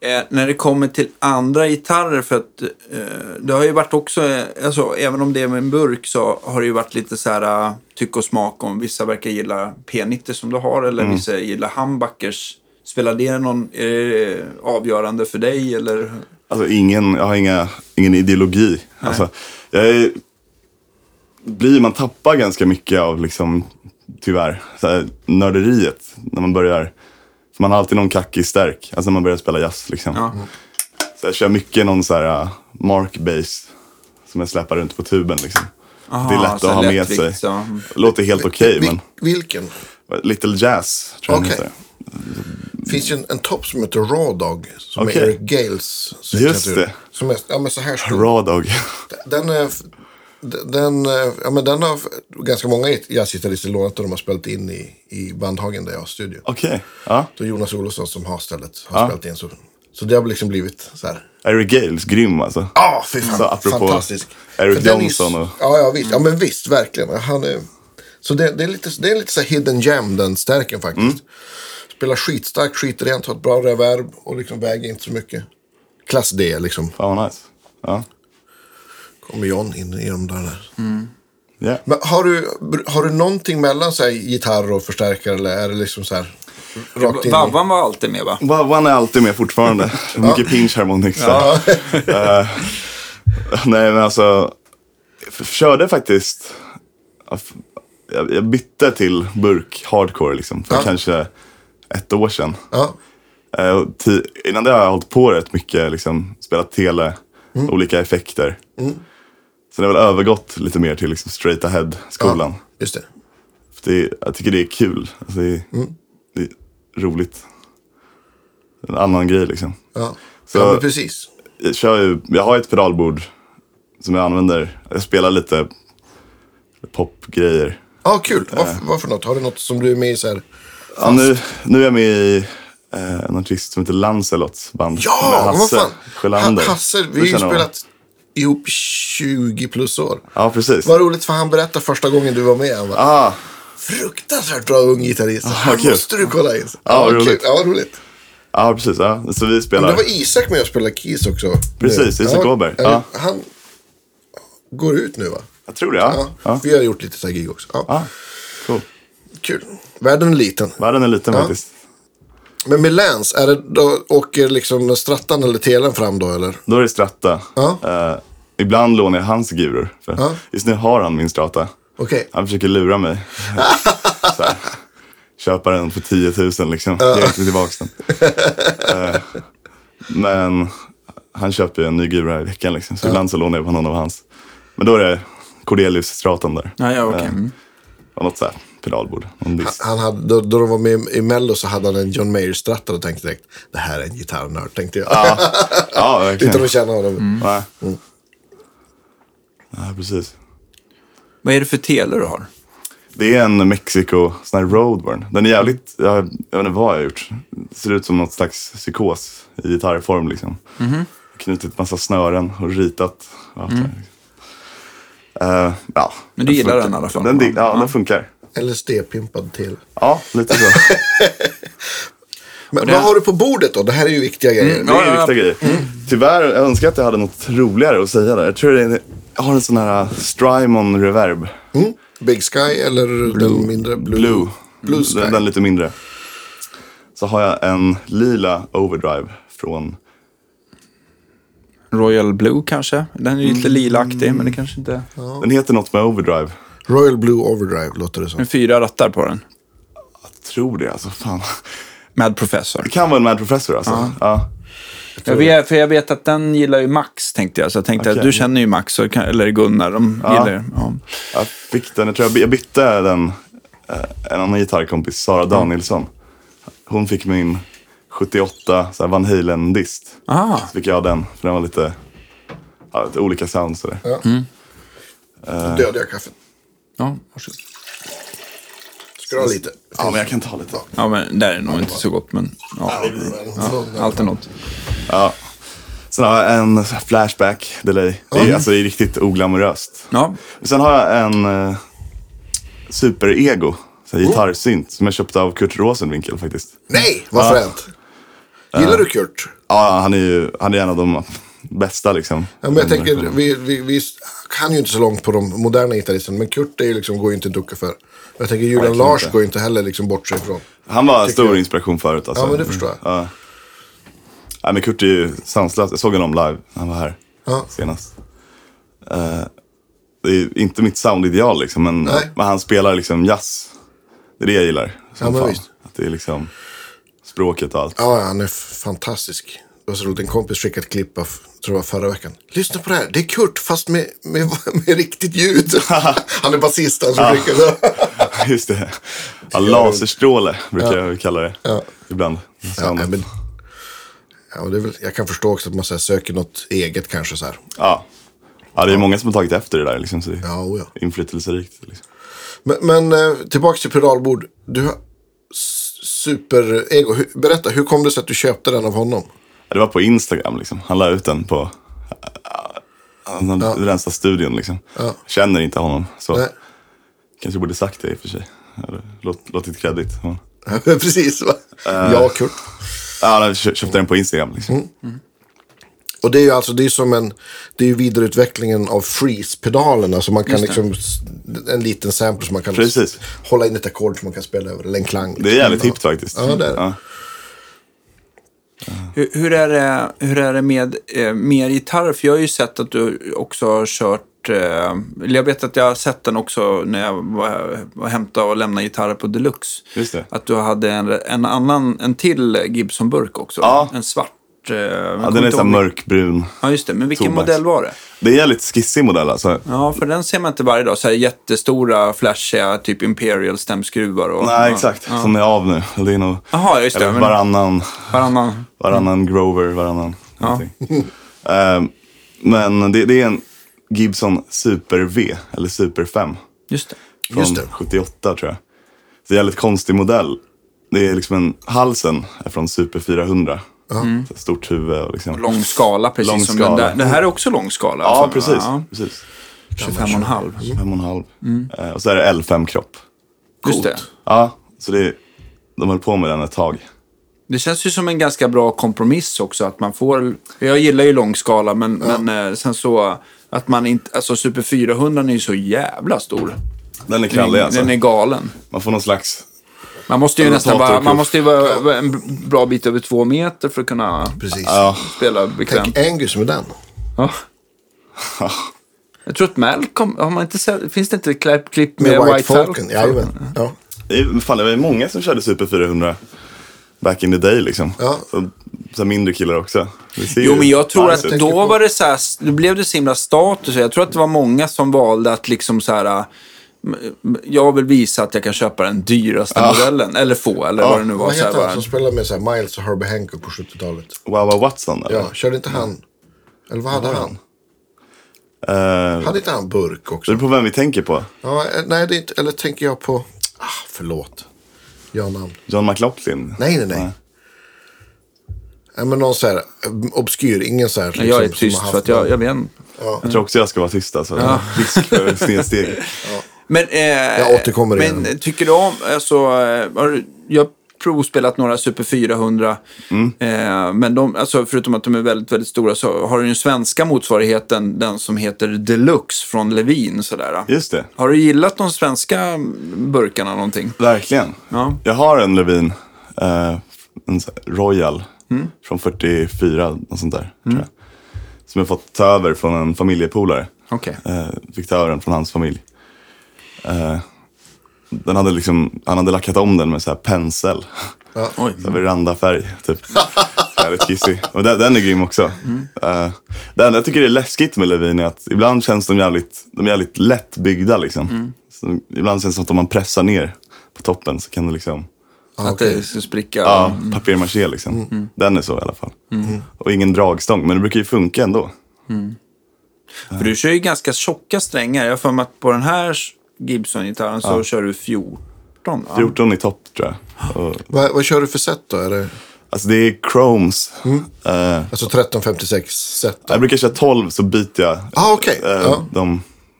Eh, när det kommer till andra gitarrer, för att eh, det har ju varit också, eh, alltså, även om det är med en burk så har det ju varit lite så här eh, tyck och smak om vissa verkar gilla P90 som du har eller
Mm.
vissa gillar humbuckers. Spelar det någon, är det eh, avgörande för dig eller?
Alltså ingen, jag har inga, ingen ideologi. Alltså, jag är, blir, man tappar ganska mycket av, liksom, tyvärr, så här, nörderiet när man börjar. För man har alltid någon kackig stärk, alltså när man börjar spela jazz. Liksom.
Ja.
Så jag kör mycket någon så här uh, mark bass som jag släpar runt på tuben. Liksom. det är
Aha,
lätt
så
att ha med
lättvikt,
sig.
så, mm.
Låter helt okej,
Vil-
men
Vilken?
Little Jazz tror jag den
Okej.
heter.
finns ju en, en topp som heter Raw Dog. Som
Okej.
är Eric Gales signatur.
Just det.
Som är, ja, men så här stor.
Raw Dog.
Den, är, f- d- den, eh, ja, men den har f- ganska många git- jazzgitarrister lånat och de har spelat in i, i Bandhagen där jag har studio.
Okej, ja.
Så Jonas Olofsson som har stället har spelat in. Så, så det har liksom blivit så här.
Eric Gales, grym alltså.
Ja, fy fan.
Så apropå
fantastisk.
Eric
För den är-
Johnson och-
Ja, ja, visst. Ja, men visst, verkligen. Han är... Så det, det är lite, det är lite så här hidden gem, den stärken faktiskt.
Mm.
Spelar skitstarkt, skitrent, har ett bra reverb och liksom väger inte så mycket. Klass D liksom.
Fan vad nice. Ja.
Kommer John in i de där.
Mm. Yeah.
Men har du, har du någonting mellan så här, gitarr och förstärkare eller är det liksom så här rakt in? i-
Vavvan var alltid med va?
Wawan är alltid med fortfarande. Mycket pinch harmonics. där. Eh, nej, men alltså. Jag körde faktiskt. Jag, jag bytte till burk hardcore liksom, för
Ja.
kanske ett år sedan.
Ja,
Eh, och ti- innan det har jag hållit på rätt mycket, liksom, spelat tele,
Mm.
olika effekter. Sen har jag väl övergått lite mer till liksom, straight ahead-skolan.
ja, just det.
För det, jag tycker det är kul. Alltså det, är,
Mm.
det är roligt. En annan grej liksom.
Ja,
Så-
ja men precis.
Jag, kör ju, jag har ett pedalbord som jag använder. Jag spelar lite popgrejer.
Ja, kul. Vad,
Eh.
f- vad för något? Har du något som du är med i så här?
Ja, nu, nu är jag med i eh, en artist som heter Lancelots band.
Ja,
med
vad
Hasse
fan.
Sjölander.
Ha- Hasse, vi
Du
har ju
känner honom.
spelat ihop 20 plus år.
Ja, precis.
Vad roligt för han berättade första gången du var med. Han bara,
Ah,
Fruktansvärt bra ung gitarrist.
vad
Han
kul.
måste du kolla in.
Ja, vad
kul.
roligt.
Ja, vad roligt.
ja, precis. Ja. Så vi
Men
spelar.
det var Isak med och spelade Keys också.
Precis,
Nu.
Isak Åberg. Ah.
eller,
Ja.
Han går ut nu va?
Jag tror det, ja.
Ja.
ja.
Vi har gjort lite så här gig också. Ja.
ja. Cool.
Kul. Världen är liten.
Världen är liten
Ja.
faktiskt.
Men med Lance, är det, då åker liksom Strattan eller Telen fram då eller?
Då är det Stratta.
Ja.
Eh, ibland lånar jag hans guror. För
Ja.
Just nu har han min Strata.
Okej.
Han försöker lura mig. så här, köpa den för 10 000 liksom. Ge inte tillbaka den. Eh, men han köper ju en ny gura i veckan liksom. Så ibland så lånar jag på någon av hans. Men då är det Cordelius-stratan där.
Ja, ja, okej.
Eh,
Mm.
och något så här pedalbord. Någon dist.
Han hade, då, då de var med i Mello så hade han en John Mayer-stratta och tänkte direkt det här är en gitarrnörd tänkte jag.
Ja, Mm. ja
Utan
verkligen.
att Mm. känna honom.
Nej. Nej, precis.
Vad är det för tele du har?
Det är en Mexico, sån här roadburn. Den är jävligt, jag, jag vet inte vad jag har gjort. Ser ut som något slags psykos i gitarrform liksom.
Mhm.
Knutit massa snören och ritat. Och allt det här, liksom. Eh, ja,
Men du gillar
funkar.
den i alla fall?
Den, dig- ja, den funkar.
LSD-pimpad till.
Ja, lite så.
Men
det-
vad har du på bordet då? Det här är ju viktiga grejer.
Det
Ja,
är
ja, Mm. ja.
viktiga grejer. Tyvärr, jag önskar att jag hade något roligare att säga där. Jag tror det är, jag har en sån här äh, Strymon Reverb.
Mm. Big Sky eller den mindre Blue?
Blue.
Blue Sky.
Den, den lite mindre. Så har jag en lila overdrive från
Royal Blue kanske? Den är ju lite lilaktig, men det kanske inte...
Den heter något med Overdrive.
Royal Blue Overdrive låter det som.
Med fyra rattar på den.
Jag tror det alltså. Fan.
Med Professor.
Det kan vara en Mad Professor alltså. Ja.
Jag vet, för jag vet att den gillar ju Max, tänkte jag. Så jag tänkte att
Okej.
du känner ju Max, och kan, eller Gunnar. De
Ja.
gillar ju- ja.
Jag fick den. Jag tror jag, by- jag bytte den. eh, En annan gitarrkompis, Sara Danielsson. Hon fick min 78 så här Van Halen-dist.
Ah.
Så fick jag den. För den var lite, ja, lite olika sound sådär.
Dödade jag kaffet.
Ja, varsågod.
Ska du ha lite?
Eh, Ja, men jag kan ta lite.
ja, men där är nog inte så gott, men ja, allt är något.
Sen har jag en så här flashback delay. Det är, alltså, det är riktigt oglamoröst.
Ja,
Sen har jag en eh, Super-Ego. så här Gitarrsynt som jag köpte av Kurt Rosenwinkel faktiskt.
Nej, vad
Ja. Eh.
fränt. Gillar du Kurt?
Ja, han är ju han är en av de bästa liksom.
Ja, men jag tänker, vi, vi, vi kan ju inte så långt på de moderna gitarristerna, men Kurt är ju liksom, går ju inte att ducka för. Jag tänker Julian
verkligen
Lars
inte.
går ju inte heller liksom bort sig ifrån.
Han var en
tycker jag.
stor inspiration förut. Alltså.
Ja, men det förstår jag.
Ja. Nej, men Kurt är ju sanslös. Jag såg honom live när han var här
Ja.
senast. Eh, det är ju inte mitt soundideal liksom, men,
Nej.
men han spelar liksom jazz. Det är det jag gillar. som
Ja, men
fan.
visst.
Att det är liksom språket och allt.
Ja, han är f- fantastisk. Det var så roligt, en kompis skickade ett klipp av, tror jag var förra veckan. Lyssna på det här, det är Kurt fast med, med, med riktigt ljud. han är basist, han som skickade.
Just det. Ja, laserstråle brukar jag kalla det ibland.
ja,
Soundet.
men, ja, men det är väl, jag kan förstå också att man så här, söker något eget kanske så här.
Ja. ja, det är många som har tagit efter det där. Liksom, så det är
Ja, oh, ja.
Inflytelserikt. Liksom.
Men, men eh, tillbaka till pedalbord. Du har s- super-ego. Hur- Berätta, hur kom det sig att du köpte den av honom?
Ja, Det var på Instagram. Liksom. Han la ut den på... eh, Han hade rensat studion. Liksom. Känner inte honom. Så
Nej.
kanske borde sagt det i och för sig. Eller låt- Låtit kredit. Ja.
Precis, va?
Eh.
Ja, Kurt.
Ja, han kö- köpte den på Instagram. Liksom.
Mm. Och det är ju alltså, det är som en, det är ju vidareutvecklingen av freeze-pedalerna. Så man kan liksom, s- en liten sample som man kan
Precis.
hålla in ett ackord som man kan spela över, eller en klang.
Det är jävligt hippt faktiskt.
Ja, det är det.
Hur, hur, är det, hur är det med eh, mer gitarrer? För jag har ju sett att du också har kört... Eh, eller jag vet att jag har sett den också när jag var, var hämtade och lämnade gitarrer på Deluxe.
Just det.
Att du hade en, en annan, en till Gibson-burk också.
Ja.
En svart. Eh,
Ja, den är så här mörkbrun.
Ja, just det. Men vilken
Tobax.
modell var det?
Det är en jävligt skissig modell alltså.
Ja, för den ser man inte varje dag. Så här jättestora, flashiga, typ Imperial stämskruvar. Och,
Nej,
ja.
exakt. Som är av nu. Det är nog
Jaha, just det.
eller
Men-
varannan,
Varannan.
varannan Grover, varannan någonting. Ehm, men det, det är en Gibson Super V, eller Super 5.
Just det.
Från
Just det.
78 tror jag. Så det är en jävligt konstig modell. Det är liksom en, halsen är från Super 400.
Mm.
Så Stort huvud och liksom...
Lång skala, precis
Lång
som
skala.
den där. Den här är också lång skala.
Ja,
Fan,
precis.
ja. Alltså.
precis.
25,5.
Fem och en halv. Eh, och så är det L5-kropp.
Just det.
Ja, så det, de höll på med den ett tag.
Det känns ju som en ganska bra kompromiss också. Att man får, jag gillar ju långskala, men, men eh, sen så att man inte... Alltså Super 400 är ju så jävla stor.
Den är krallig alltså.
Den är galen.
Man får någon slags...
Man måste ju
Den
nästan
tar
vara,
tur.
man måste ju vara vara en bra bit över två meter för att kunna
Precis.
Ja,
spela bekvämt.
Tänk Angus med den.
Ja. Jag tror att Malcolm, har man inte sett, finns det inte ett klipp- klipp med,
Med White,
Fal-
Falcon. Jajamän. Ja.
det är- fan, det var ju många som körde Super 400 back in the day liksom.
Ja.
Så, så här mindre killar också. Det ser
Jo,
ju
men jag tror att
nice ut.
tänker
då
på-
var det så här, då blev det så himla status. Jag tror att det var många som valde att liksom så här, äh, m- jag vill visa att jag kan köpa den dyraste modellen. Eller få, eller vad det nu var.
Vad
Så här,
heter han som
bara,
spelade med så här Miles och Herbie Hancock på 70-talet?
Wawa Watson eller?
Ja, körde inte han? Eller vad hade han?
Eh,
Hade inte han burk också?
det beror på vem vi tänker på.
Ja, eh, nej, det är inte, eller tänker jag på... Ah, förlåt. Jag namn.
John McLaughlin?
Nej, nej, nej.
Nej.
Nej, men någon så här eh, obskyr. Ingen så här... Liksom,
jag är
som
tyst
har haft
för att jag,
någon-
jag vet inte.
Jag tror också jag ska vara tyst alltså. Risk för snedsteg.
Men, eh,
Jag återkommer
men
igen.
tycker du om, alltså, eh, har du, jag har provspelat några Super 400.
Mm.
Eh, men de, alltså, förutom att de är väldigt, väldigt stora så har du den svenska motsvarigheten, den som heter Deluxe från Levin. Sådär.
Just det.
Har du gillat de svenska burkarna någonting?
Verkligen.
Ja.
Jag har en Levin, eh, en sån här Royal
Mm.
från 44, något sånt där. Tror jag. Som jag fått ta över från en familjepolare.
Okej.
Eh, fick ta över den från hans familj. Eh, den hade liksom, han hade lackat om den med så här pensel.
Oj.
Så här Verandafärg, typ. Jävligt kissig. Och den, den är grym också. Eh, det enda jag tycker är läskigt med Levin är att ibland känns de jävligt, de är jävligt lättbyggda. Liksom. Så ibland känns det som att om man pressar ner på toppen så kan det liksom...
Ah,
Att
okej.
det ska spricka.
Ja, papier-maché liksom. Den är så i alla fall. Och ingen dragstång, men det brukar ju funka ändå.
För du kör ju ganska tjocka strängar. Jag har för mig att på den här Gibson-gitarren så kör du 14. va?
14 i topp tror jag. Och,
Vad, vad kör du för set då? Är det,
alltså det är chromes. Eh,
alltså 1356 set? Då?
jag brukar köra 12 så byter jag
Ah, okej.
eh,
Ja.
de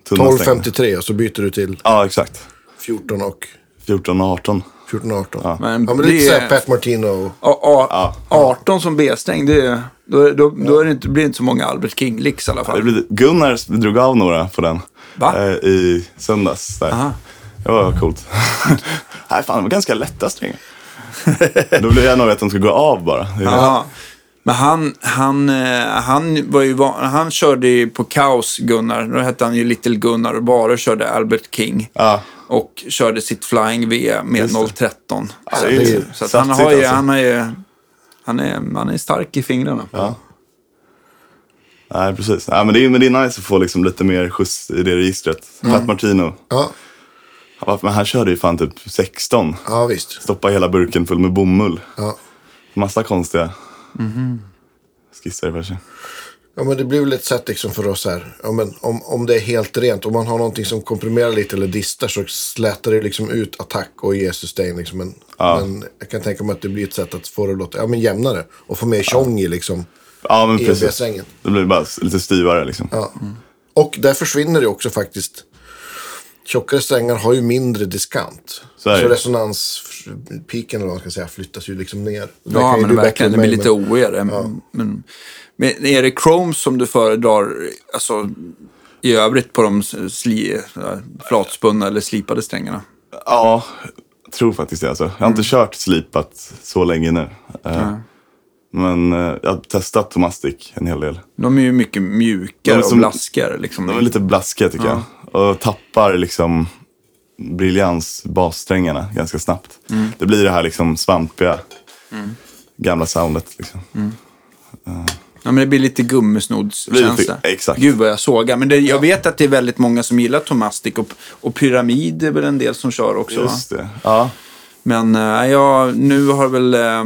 tunna strängarna.
1253 och så byter du till
Ja, exakt.
14 och
14 och 18.
14 och 18. Ja,
Men
men, det är
det-
lite såhär Pat Martino. Och,
Ja, ja, 18 som B-sträng, det, är- då, är- då, då är det inte, blir det inte så många Albert King-licks i alla
Det
fall.
blir- Gunnar drog av några på den
Va?
eh, i söndags. Där. Det var coolt. Nej, fan, det var ganska lätta strängar. Då blev jag nog att de skulle gå av bara. Det är-
Ja. Men han, han, eh, han, var ju van, han körde ju på Kaos Gunnar. Då hette han ju Little Gunnar och bara körde Albert King.
Ja.
Och körde sitt Flying V med 013. Så,
det är ju
så att han,
satsigt
har ju,
alltså.
han, har ju, han, är, han är stark i fingrarna.
Nej, precis. Nej, men, det är, men det är nice att få liksom lite mer skjuts i det registret. Pat Martino,
ja,
han, var- men han körde ju fan typ 16.
ja, visst.
Stoppa hela burken full med bomull.
Ja.
Massa konstiga skisser för sig.
Ja, men det blir väl ett sätt liksom för oss här. Ja, men om, om det är helt rent, om man har någonting som komprimerar lite eller distar så slätar det liksom ut attack och ger sustain. Liksom. Men, men jag kan tänka mig att det blir ett sätt att få det att låta ja, men jämnare och få mer tjong i liksom.
Ja, men
I
precis.
EB-sängen.
Det blir bara s- lite styvare liksom.
Ja. Och där försvinner det också faktiskt. Tjockare strängar har ju mindre diskant.
Så är det.
så resonanspiken eller vad man ska säga flyttas ju liksom ner. Det
Ja,
kan ju
men
du bättre
verkligen. Det
än
blir
mig,
lite
men-
oigare. Men, men är det Chrome som du föredrar alltså, i övrigt på de sli, flatspunna eller slipade strängarna?
Ja, jag tror faktiskt det. Alltså. Jag har inte kört slipat så länge nu. Eh, Men eh, jag har testat Tomastic en hel del.
De är ju mycket mjukare
De är
och
som-
blaskigare. Liksom.
De är lite blaskiga tycker jag. Och tappar liksom briljans bassträngarna ganska snabbt. Det blir det här liksom svampiga gamla soundet. Liksom.
ja, men det blir lite
Det blir
gummisnodskänsla.
lite- exakt.
Gud vad jag sågar. Men det, jag vet att det är väldigt många som gillar Tomastic och, och Pyramid är väl en del som kör också. va?
Just det. Ja.
Men eh, jag, nu har väl, eh,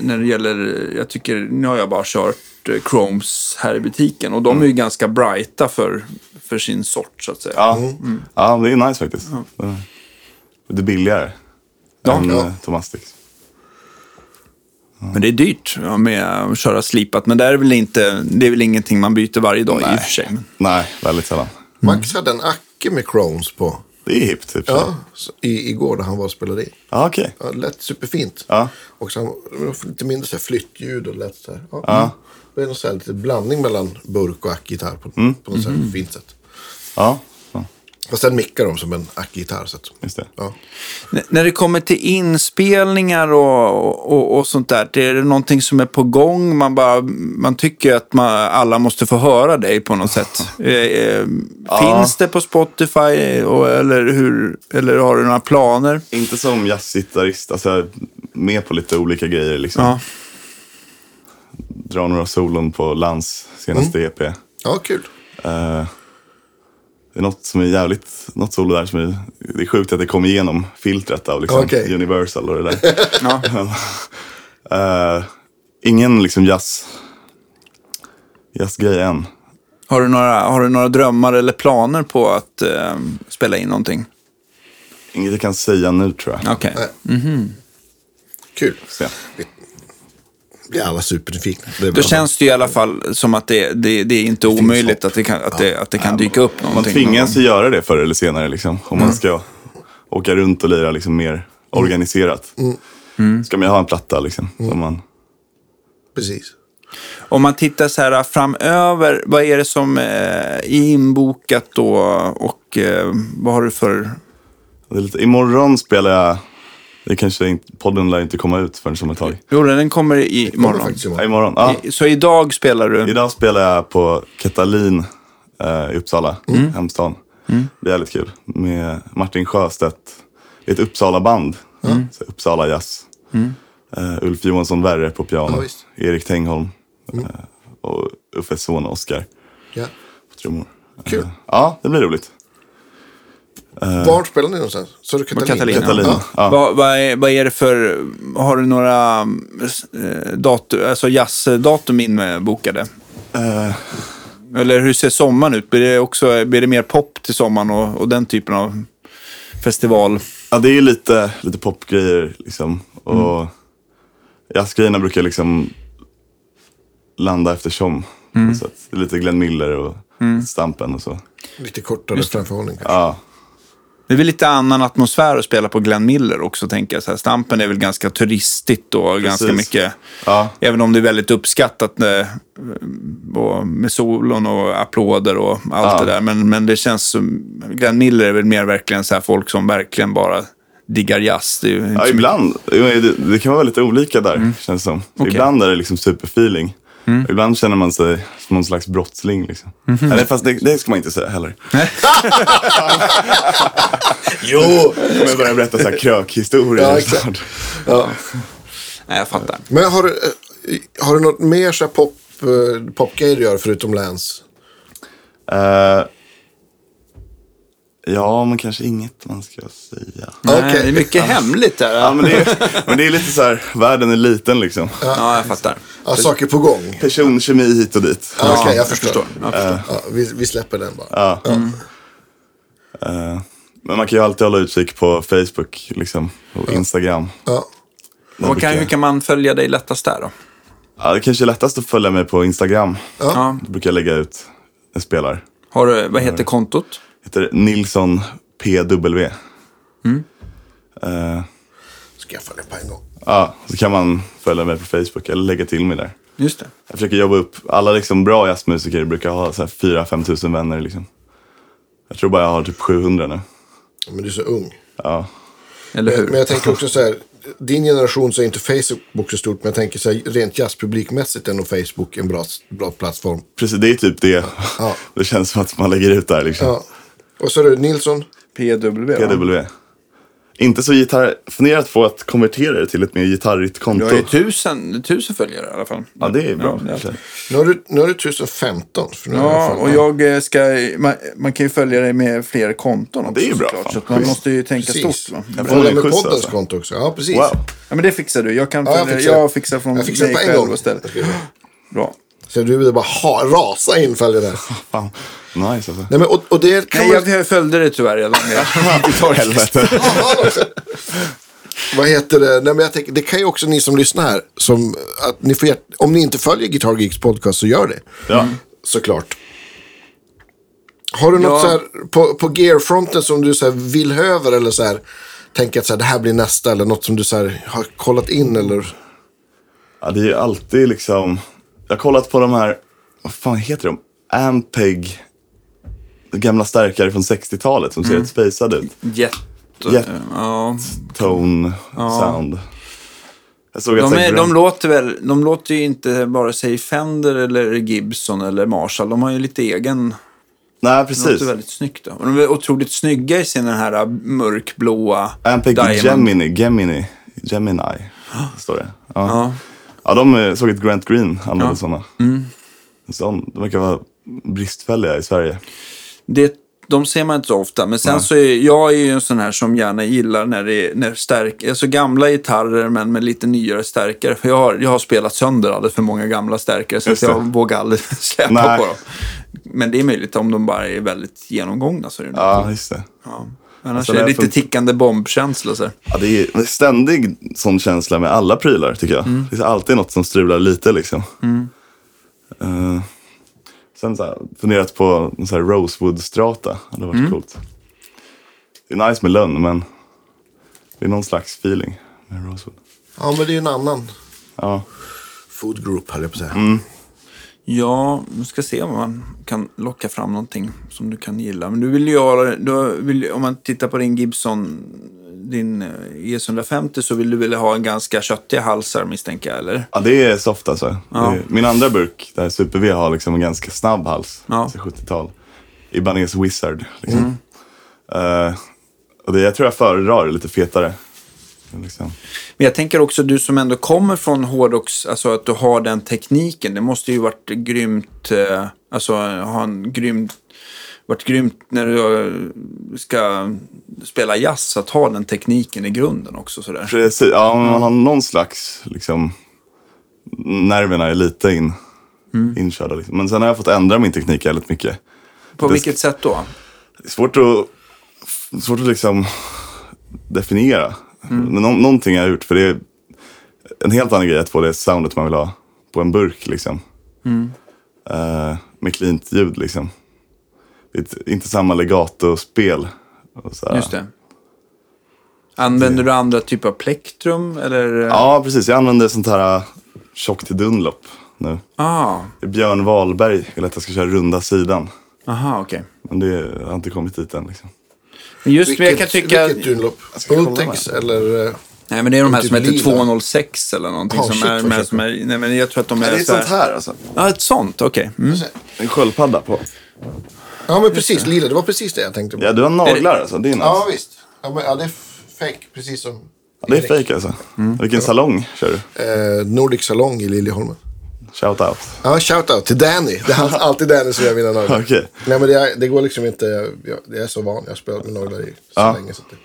när det gäller, jag tycker, nu har jag bara kört eh, Chromes här i butiken. Och de
Mm.
är ju ganska brighta för, för sin sort så att säga.
Ja.
Mm.
ja, det är nice faktiskt. Mm. Det är billigare
Ja,
än
ja.
eh, Tomastic.
Men det är dyrt ja, med att köra slipat. Men där är väl inte, det är väl ingenting man byter varje dag i och för sig. Men,
Nej, väldigt sällan.
Max hade en Acke med Crones på.
Det är hippt. Typ.
Ja, så- i, igår när han var och spelade in.
Ja, okej.
Ja, det lät superfint.
Ja.
Och sen det var lite mindre så här flyttljud och lät så här. Ja. Det är någon så här lite blandning mellan burk och ackgitarr på, på något så här fint sätt.
Ja, så,
Fast sen mickar de som en ackgitarr. Så att,
just det.
ja.
N- när det kommer till inspelningar och, och, och sånt där. Är det någonting som är på gång? Man, bara, man tycker att man, alla måste få höra dig på något sätt. Eh, eh, Finns det på Spotify? Och, eller, hur, eller har du några planer?
Inte som jazzgitarrist, alltså jag är med på lite olika grejer liksom.
Ja.
Drar några solon på Lans senaste
Mm.
E EP.
ja, kul.
Det är något som är jävligt, något solo där som är, det är sjukt att det kom igenom filtret av liksom
Okej.
Universal och det där. Men, eh, ingen liksom jazz, jazzgrej än.
Har, du några, har du några drömmar eller planer på att eh, spela in någonting?
Inget jag kan säga nu tror jag.
Okej.
Mm-hmm. Kul.
Se.
Blir alla supernyfikna. Det är
Då
bra.
känns det i alla fall som att det, det, det är inte omöjligt
hopp.
att det kan, att det, att det kan dyka upp
Man
någonting.
tvingas ju göra det förr eller senare liksom. Om man ska åka runt och lira liksom mer organiserat. Ska man ju ha en platta liksom. Som man,
Precis.
Om man tittar så här framöver, vad är det som eh, är inbokat då och eh, vad har du för...
det är lite, imorgon spelar jag, det kanske inte, podden lär inte komma ut förrän om ett tag.
Jo, den kommer i
Kommer
morgon.
faktiskt
Ja,
imorgon.
imorgon. Ja.
I- Så idag spelar du?
Idag spelar jag på Katalin eh, i Uppsala,
Mm.
hemstaden. Det är jävligt kul. Med Martin Sjöstedt. Det är ett Uppsala-band.
Mm.
Så Uppsala jazz. Eh, Ulf Johansson Werre på
Ja,
piano.
visst. Mm.
Erik Tengholm. Eh, och Uffes son Oskar
Ja.
på trummor.
Kul.
Eh, ja, det blir roligt.
Var spelar ni någonstans? Sa du Katalin?
Katalin, ja.
Katalin.
Ja.
Ja.
Vad, vad, är, vad är det för... Har du några eh, datu, alltså jazzdatum inbokade?
Eh,
Eller hur ser sommaren ut? Blir det, också, blir det mer pop till sommaren och, och den typen av festival?
Ja, det är ju lite, lite popgrejer liksom. Och
Mm.
jazzgrejerna brukar liksom landa eftersom.
Mm.
Så att det är lite Glenn Miller och Stampen och så.
Lite kortare framförhållning. kanske.
Ja,
Det är väl lite annan atmosfär att spela på Glenn Miller också, tänker jag. Så här, Stampen är väl ganska turistigt och ganska mycket...
Ja.
Även om det är väldigt uppskattat eh, och med solen och applåder och allt det där. Men, men det känns som... Glenn Miller är väl mer verkligen så här folk som verkligen bara diggar jazz. Det är ju inte
ja
så
ibland. Jo, Det, det kan vara lite olika där,
Mm.
känns det som. Ibland är det liksom superfeeling. Ibland känner man sig som någon slags brottsling. Liksom.
Mhm.
Eller, fast det, det ska man inte säga heller.
Jo!
Om jag börjar berätta så här krökhistorier.
Ja, exakt.
snart.
Ja.
mycket- Nej, jag fattar.
Men har du, eh, har du något mer så här pop, eh, popgrej du gör förutom Lance?
Eh, ja, men kanske inget man ska säga.
Okej.
Nej, det är mycket hemligt där.
Ja, men, det är, men det är lite så här, världen är liten liksom.
Ja, jag fattar.
Ja, saker på gång.
Personkemi hit och dit.
Ja, Okej, jag förstår.
Jag förstår.
Ja, vi, vi släpper den bara.
Eh, men man kan ju alltid hålla utkik på Facebook liksom, och Instagram.
Ja.
Där
Vad kan,
brukar-
hur kan man följa dig lättast där då?
ja, det kanske är lättast att följa mig på Instagram.
Ja.
Då brukar jag lägga ut en spelare.
Har du, vad heter kontot?
Heter Nilsson PW. Eh,
Skaffa den på en gång.
ja, så kan man följa mig på Facebook eller lägga till mig där.
Just det.
Jag försöker jobba upp. Alla liksom bra jazzmusiker brukar ha 4-5 tusen vänner. Liksom. Jag tror bara jag har typ 700 nu.
Men du är så ung.
Ja.
Eller hur?
Men jag tänker också så här. Din generation så är inte Facebook så stort. Men jag tänker så här, rent jazzpublikmässigt är nog Facebook en bra, bra plattform.
Precis, det är typ det.
Ja.
Det känns som att man lägger ut där liksom.
Ja. Och så är det Nilsson.
PW. va?
PW. Inte så gitarr... Funderat på att konvertera det till ett mer gitarrigt
Du
konto.
har ju tusen, tusen följare i alla fall.
Ja, det är bra.
typ- Ja, det är alltid.
Nu har du, nu har du 1015. För nu är det i alla
Ja,
fall-
och jag eh, ska... Man, man kan ju följa dig med fler konton också
det är ju bra,
såklart,
fan.
Så att man
Schysst.
måste ju tänka
Precis.
stort. Va?
Jag
får
får med
en skjuts,
poddens
alltså.
konto också. Ja, precis.
Wow.
Ja, men det fixar du. Jag kan
Ja,
följa...
jag
jag,
fixar
fixar.
det.
från
Jag fixar det
mig
på en
själv
gång.
och ställer. Bra.
Så du vill bara ha, rasa in följer där.
Fan. Nice alltså.
Nej, men, och, och det kan
Nej,
man...
jag följde dig tyvärr redan. Jag,
Helvete.
Vad heter det? Nej, men jag tänker, det kan ju också ni som lyssnar här. Som, att ni får, hjärt- om ni inte följer Guitar Geeks podcast så gör det.
Ja.
Mm.
Såklart. Har du något så här, på, på gearfronten som du så här vill höver eller så här, tänker att så här, det här blir nästa eller något som du så här, har kollat in eller?
Ja, det är ju alltid liksom... Jag har kollat på de här, vad fan heter de? Ampeg. Gamla stärkare från 60-talet som
Mm.
ser helt spejsade ut.
Jätte...
Jätte-
Ja.
Tone, sound. Jag såg att
De, är,
Zach
de
Brown-
låter väl, de låter ju inte vare sig Fender eller Gibson eller Marshall. De har ju lite egen.
Nej,
Det
precis.
låter väldigt snyggt. Då. Och de är otroligt snygga i sin den här äh, mörkblåa
Ampeg
Diamond.
Gemini. Gemini. Gemini. Står det. Ja. Ja. de eh, såg ett Grant Green använde sådana. Så de, de verkar vara bristfälliga i Sverige.
Det, de ser man inte så ofta. Men sen så är jag är ju en sån här som gärna gillar när det är när stärk, alltså gamla gitarrer men med lite nyare stärkare. För jag har, jag har spelat sönder alldeles för många gamla stärkare så att
Just
jag
det.
vågar aldrig släppa
Nej.
på dem. Men det är möjligt om de bara är väldigt genomgångna. Så är det nog.
Ja, just det.
Ja. Annars
Alltså,
är det
när
lite
fun-
tickande bombkänsla. Så här.
Ja, det är en ständig sån känsla med alla prylar tycker jag. Det är alltid något som strular lite liksom. Eh, sen så här, funderat på en sån här Rosewood-strata. Det hade varit coolt. Det är nice med lönn men det är någon slags feeling med Rosewood.
Ja, men det är ju en annan
Ja,
food group höll jag på att säga.
Ja, vi ska se om man kan locka fram någonting som du kan gilla. Men du vill ju ha, du vill, om man tittar på din Gibson, din eh, E150, så vill du väl ha en ganska köttiga halsar misstänker jag, eller?
ja det är soft alltså. Det är, min andra burk, det här Super V, har liksom en ganska snabb hals.
Ja.
Alltså 70-tal. Ibanez Wizard. Liksom. Eh, och det, jag tror jag föredrar det lite fetare. Liksom.
Men jag tänker också du som ändå kommer från hårdrocks, alltså att du har den tekniken. Det måste ju varit grymt, eh, alltså ha en grym, varit grymt när du eh, ska spela jazz, att ha den tekniken i grunden också sådär.
Precis, ja men man har någon slags liksom nerverna är lite in, inkörda. Liksom. Men sen har jag fått ändra min teknik väldigt mycket.
På
Det-
vilket sätt då?
Det är svårt att, svårt att liksom definiera.
Mm.
Men nå- någonting jag har gjort för det är en helt annan grej att få det soundet man vill ha på en burk liksom.
Mm.
Eh, med cleant ljud liksom. Det är ett- inte samma legato-spel. och så här.
Just det. Använder du andra typer av plektrum? Eller?
Ja, precis. Jag använder sånt här eh, tjockt Dunlop nu.
Ah,
Det är Björn Wahlberg vill att jag ska köra runda sidan.
aha, okej.
Men det jag har inte kommit dit än. Liksom.
Men Just vilket, jag
Vilket,
kan tycka...
vilket Dunlop?
ska kolla
Ultex eller? eh,
Nej, men det är de här
Typ
som heter
lila.
206 eller någonting.
Ah,
som
shit,
är,
vad
med,
köper
som är, nej, men jag tror att de är...
Det är
så här-
sånt här alltså.
Ja, ett sånt. Okej. Mm.
En sköldpadda på.
Ja, men precis. Lila, det var precis det jag tänkte på.
Ja, du har naglar alltså. Det är, nice.
Ja, visst. Ja, men, ja, det är fake, precis som
Ja, det är fake alltså.
Mm.
Vilken salong kör du?
eh, Nordic Salong i Liljeholmen.
Shout out.
Ja, shoutout till Danny. Det är han- alltid Danny som gör mina naglar.
Okej.
Nej, men det, är- det går liksom inte. Jag, jag, jag är så van. Jag har spelat med naglar i så
Ja.
länge. Så att det...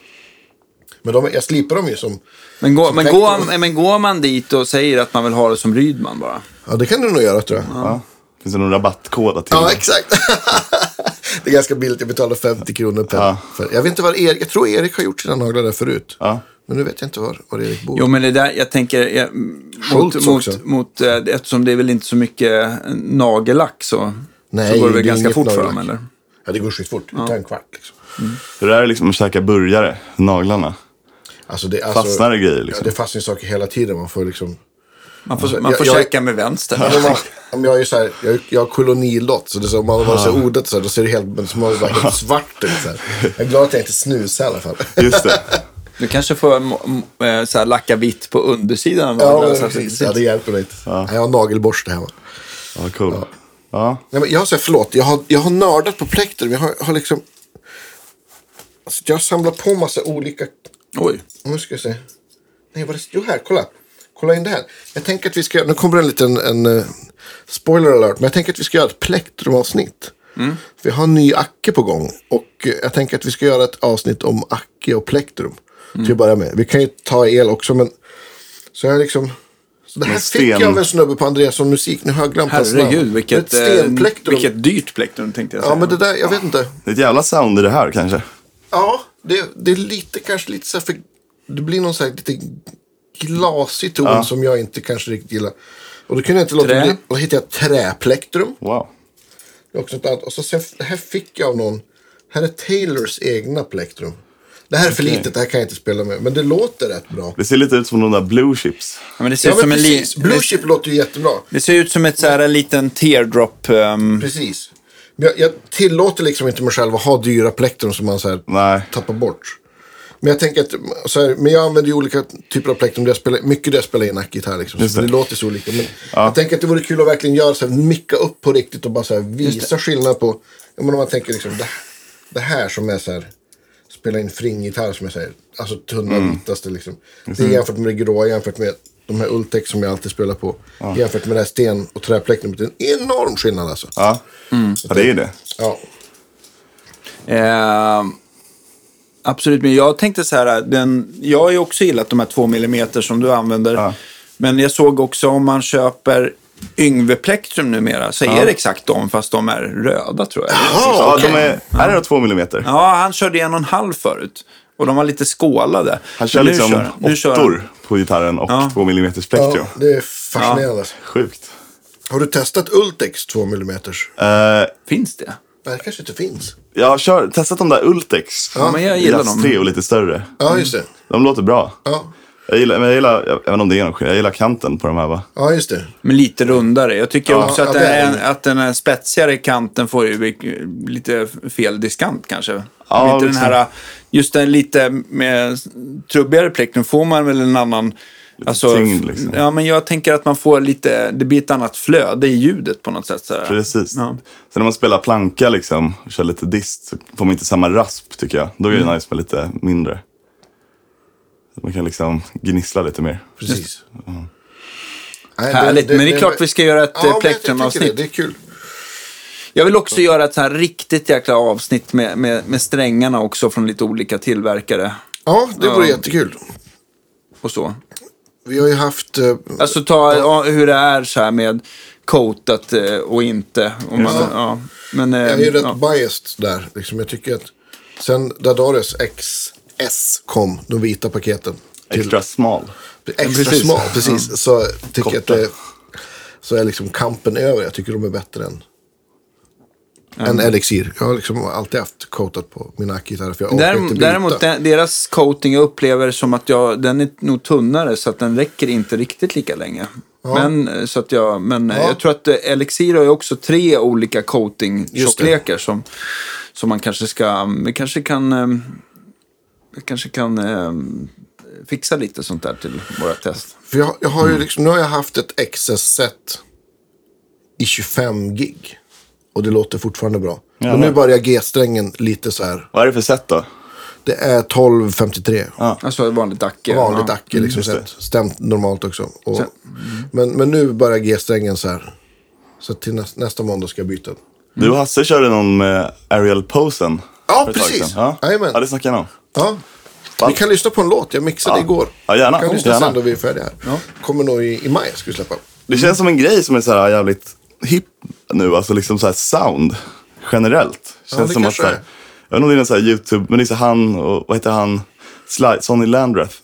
Men de, jag slipar dem ju som...
Men, går,
som
men,
plektrum.
går, men går man dit och säger att man vill ha det som Rydman bara?
Ja, det kan du nog göra tror jag. Ja,
Ja. Finns det någon rabattkod att tillgå?
exakt. det är ganska billigt. Jag betalar 50 kronor per.
Ja.
För, jag, vet inte var Erik, jag tror Erik har gjort sina naglar där förut.
Ja.
Men nu vet jag inte var, var Erik bor.
Jo, men det där, jag tänker, eh, mot,
Schultz också.
mot, mot, eh, eftersom det är väl inte så mycket eh, nagellack så, så går det väl
är
ganska
inget
fort för
nagellack.
dem, eller?
Ja, det går skitfort. Det tar en kvart liksom.
Hur är det liksom att käka burgare? Naglarna?
Alltså, det, alltså,
Fastnar det grejer, liksom?
Ja, det fastnar ju saker hela tiden. Man får liksom...
Man får, man
Alltså, jag-
får
jag-
käka med vänster.
Men man, om jag, är ju så här, jag, jag har kolonilott, så, det är så om man har så här ordet så, här, då ser det helt, men så man bara helt svart ut. Så här. Jag är glad att jag inte snusar i alla fall.
Just det.
Du kanske får m- m- eh, så här, lacka vitt på undersidan av
Ja,
naglarna
men
så att det
precis.
syns.
Ja, det hjälper mig inte. Jag har nagelborste hemma.
Ja, cool. Ja.
Nej, men jag, har så här, förlåt, jag har, jag har nördat på plektrum. Jag har, har liksom... Alltså, jag har samlat på massa olika...
Oj.
Nu ska jag se. Nej, vad är det? Jo, här, kolla. Kolla in det här. Jag tänker att vi ska... Nu kommer en liten en, eh, spoiler alert. Men jag tänker att vi ska göra ett plektrumavsnitt.
Mm.
Vi har en ny Acke på gång. Och eh, jag tänker att vi ska göra ett avsnitt om Acke och plektrum.
Mm.
Till att börja med. Vi kan ju ta el också, men... Så jag liksom... Så det här
Men
fick
sten-
jag av en snubbe på Andreasson Musik. Nu har jag glömt hans namn.
Herregud, vilket,
Det är ett
eh,
stenplektrum.
vilket dyrt plektrum tänkte jag säga.
Ja, men det där, jag vet inte.
Det är ett jävla sound i det här kanske.
Ja, det, det är lite, kanske lite så här för det blir någon så här lite glasig ton som jag inte kanske riktigt gillar. Och då kunde jag inte låta
Trä.
bli. Och då hittade jag träplektrum.
Wow.
Det är Också något annat. Och så sen, här fick jag av någon. Här är Taylors egna plektrum. Det här är för litet, det här kan jag inte spela med. Men det låter rätt bra.
Det ser lite ut som de där blue chips.
Ja, men det ser
Ja,
ut
men
som en li-
precis. Blue chip låter ju jättebra.
Det ser ut som ett så här liten teardrop. ehm,
Mm.
Precis. Men Jag, jag tillåter liksom inte mig själv att ha dyra plektrum som man så här
Nej.
tappar bort. Men jag tänker att, så här, men jag använder ju olika typer av plektrum. Där jag spelar, mycket där jag spelar inackigt här liksom.
Just
Så
det.
det låter så olika. Men jag tänker att det vore kul att verkligen göra så här, micka upp på riktigt och bara så här, visa skillnad på. Jag menar, om man tänker liksom det, det här som är så här. Spela in fringgitarr som jag säger. Alltså tunna
Mm.
vitaste liksom. Det är jämfört med det gråa, jämfört med de här Ultex som jag alltid spelar på. Jämfört med det här sten och träplektrumet. Det är en enorm skillnad alltså.
Ja,
Mm.
ja det är ju det.
Ja.
Eh, absolut, men jag tänkte så här. Den, jag har ju också gillat de här 2 mm som du använder.
Ja.
Men jag såg också om man köper Yngve Plektrum numera så är det exakt de fast de är röda tror jag.
ja, de är, här är det två millimeter.
Ah, Ja, han körde en och en halv förut. Och de var lite skålade.
Han kör
Men nu
liksom
han- nu kör han-
åttor på gitarren och två millimeters plektrum.
Ja, det är fascinerande.
Sjukt.
Har du testat Ultex 2 mm?
Eh,
Finns det?
Nej, det kanske inte finns.
jag har kör, testat de där Ultex.
Ja, men jag gillar
Jazz 3
dem.
och lite större.
Ja,
Mm.
just det.
De låter bra.
Ja,
Jag gillar, men jag gillar, jag vet inte om det är någon skillnad, jag gillar kanten på de här va?
ja just det.
Men lite rundare. Jag tycker också
ja,
att,
det är
den, att den här spetsigare kanten får ju lite fel diskant kanske.
Ja,
inte den
liksom.
här, just den lite med trubbigare plektrum får man väl en annan... Alltså,
tyngd, liksom.
Ja, men jag tänker att man får lite... Det blir ett annat flöde i ljudet på något sätt. Så här.
Precis.
Ja.
Sen när man spelar planka liksom, och kör lite dist så får man inte samma rasp tycker jag. Då är det nice med lite mindre. Man kan liksom gnissla lite mer.
Precis. Nej,
Härligt, men det är klart vi ska göra ett, eh,
men jag
plektrumavsnitt.
tycker Det, det är kul.
Jag vill också göra ett så här riktigt jäkla avsnitt med, med, med strängarna också från lite olika tillverkare.
Ja, det vore jättekul.
Och så.
Vi har ju haft... eh,
Alltså ta ja, hur det är så här med coatat eh, och inte. Om man,
det.
ja. Men, eh,
jag är ju rätt
ja.
biased där. Liksom, jag tycker att... Sen Dadares XS kom, de vita paketen. till-
Extra smal.
Extra
Precis.
smal, precis. Så tycker jag att
Korta.
det, så är liksom kampen över. Jag tycker de är bättre än, än Elixir. Jag har liksom alltid haft coatat på mina gitarrer. För jag orkar inte
Däremot,
byta.
däremot den, deras coating jag upplever som att jag, den är nog tunnare så att den räcker inte riktigt lika länge. Men, eh, så att jag, men eh,
Ja.
jag tror att eh, Elixir har ju också tre olika coating-tjocklekar som, som man kanske ska, vi kanske kan, eh, vi kanske kan eh, fixa lite sånt där till våra test.
För jag, jag har ju liksom, nu har jag haft ett XS-set i 25 gig. Och det låter fortfarande bra.
Ja,
och nu
men-
börjar G-strängen lite så här.
Vad är det för sätt då?
Det är 1253.
Alltså ett vanligt Dacke.
Vanligt
ja.
Acke liksom.
Mm, just det.
Stämt, stämt normalt också. Och, men, men nu börjar G-strängen så här. Så till näs, nästa måndag ska jag byta.
Du och Hasse körde någon med Ariel Posen.
Ja,
för ett tag
precis.
sedan. Ja.
Jajamän.
ja, det snackade han om.
Ja. Vi kan lyssna på en låt. Jag mixade
Ja.
igår.
Ja, gärna.
Vi kan lyssna
Gärna.
sen då vi är färdiga här. Kommer nog i, i maj ska vi släppa.
Det känns som en grej som är så här jävligt hipp nu, alltså liksom så här sound generellt. Känns
Ja, det
som att
kanske
så här,
är.
jag vet inte om det är någon så här YouTube, men det är så han och vad heter han? Sly, Sonny Landreth.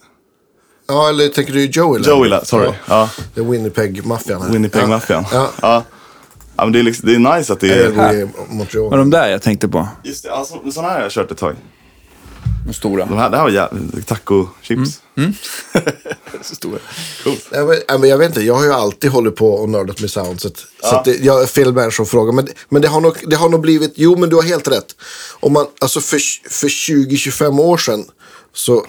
Ja, eller tänker du Joey? Land?
Joey Land, sorry. Ja.
Det är Winnipeg-maffian här.
Winnipeg Maffian.
Ja.
Ja. Ja. men det är, liksom, det är nice att det
Eller
är...
bor i Montreal.
Var de där jag tänkte på?
Just det, alltså, sådana här har jag kört ett tag.
De stora.
De här, det här var jävligt... Taco-chips.
Mm.
stora.
Nej, men, nej, men jag vet inte, jag har ju alltid hållit på och nördat med sound. Så, att, så att det, jag är fel människa att fråga. Men, men det, har nog, det har nog blivit, jo men du har helt rätt. Om man, alltså för, för 20-25 år sedan så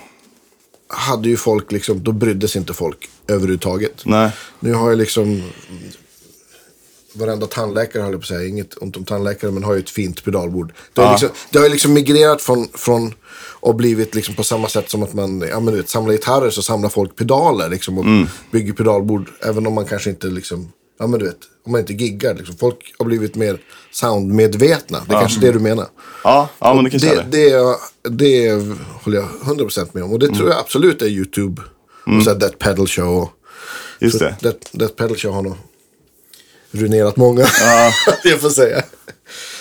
hade ju folk liksom, då brydde sig inte folk överhuvudtaget.
Nej.
Nu har jag liksom, varenda tandläkare höll jag på att säga, inget ont om tandläkare, men har ju ett fint pedalbord. Det har, ju liksom, det har ju liksom migrerat från, från och blivit liksom på samma sätt som att man ja, men du vet, samlar gitarrer så samlar folk pedaler liksom, och bygger pedalbord. Även om man kanske inte liksom, ja men du vet, om man inte giggar. Liksom. Folk har blivit mer soundmedvetna. Det är kanske är det du menar.
Ja, ja men det kanske är
Det,
det.
det, är- det håller jag 100% med om. Och det tror jag absolut är YouTube. Och så här That Pedal Show. Och,
Mm. Just
så
det.
That, that Pedal Show har nog ruinerat många. det får jag säga.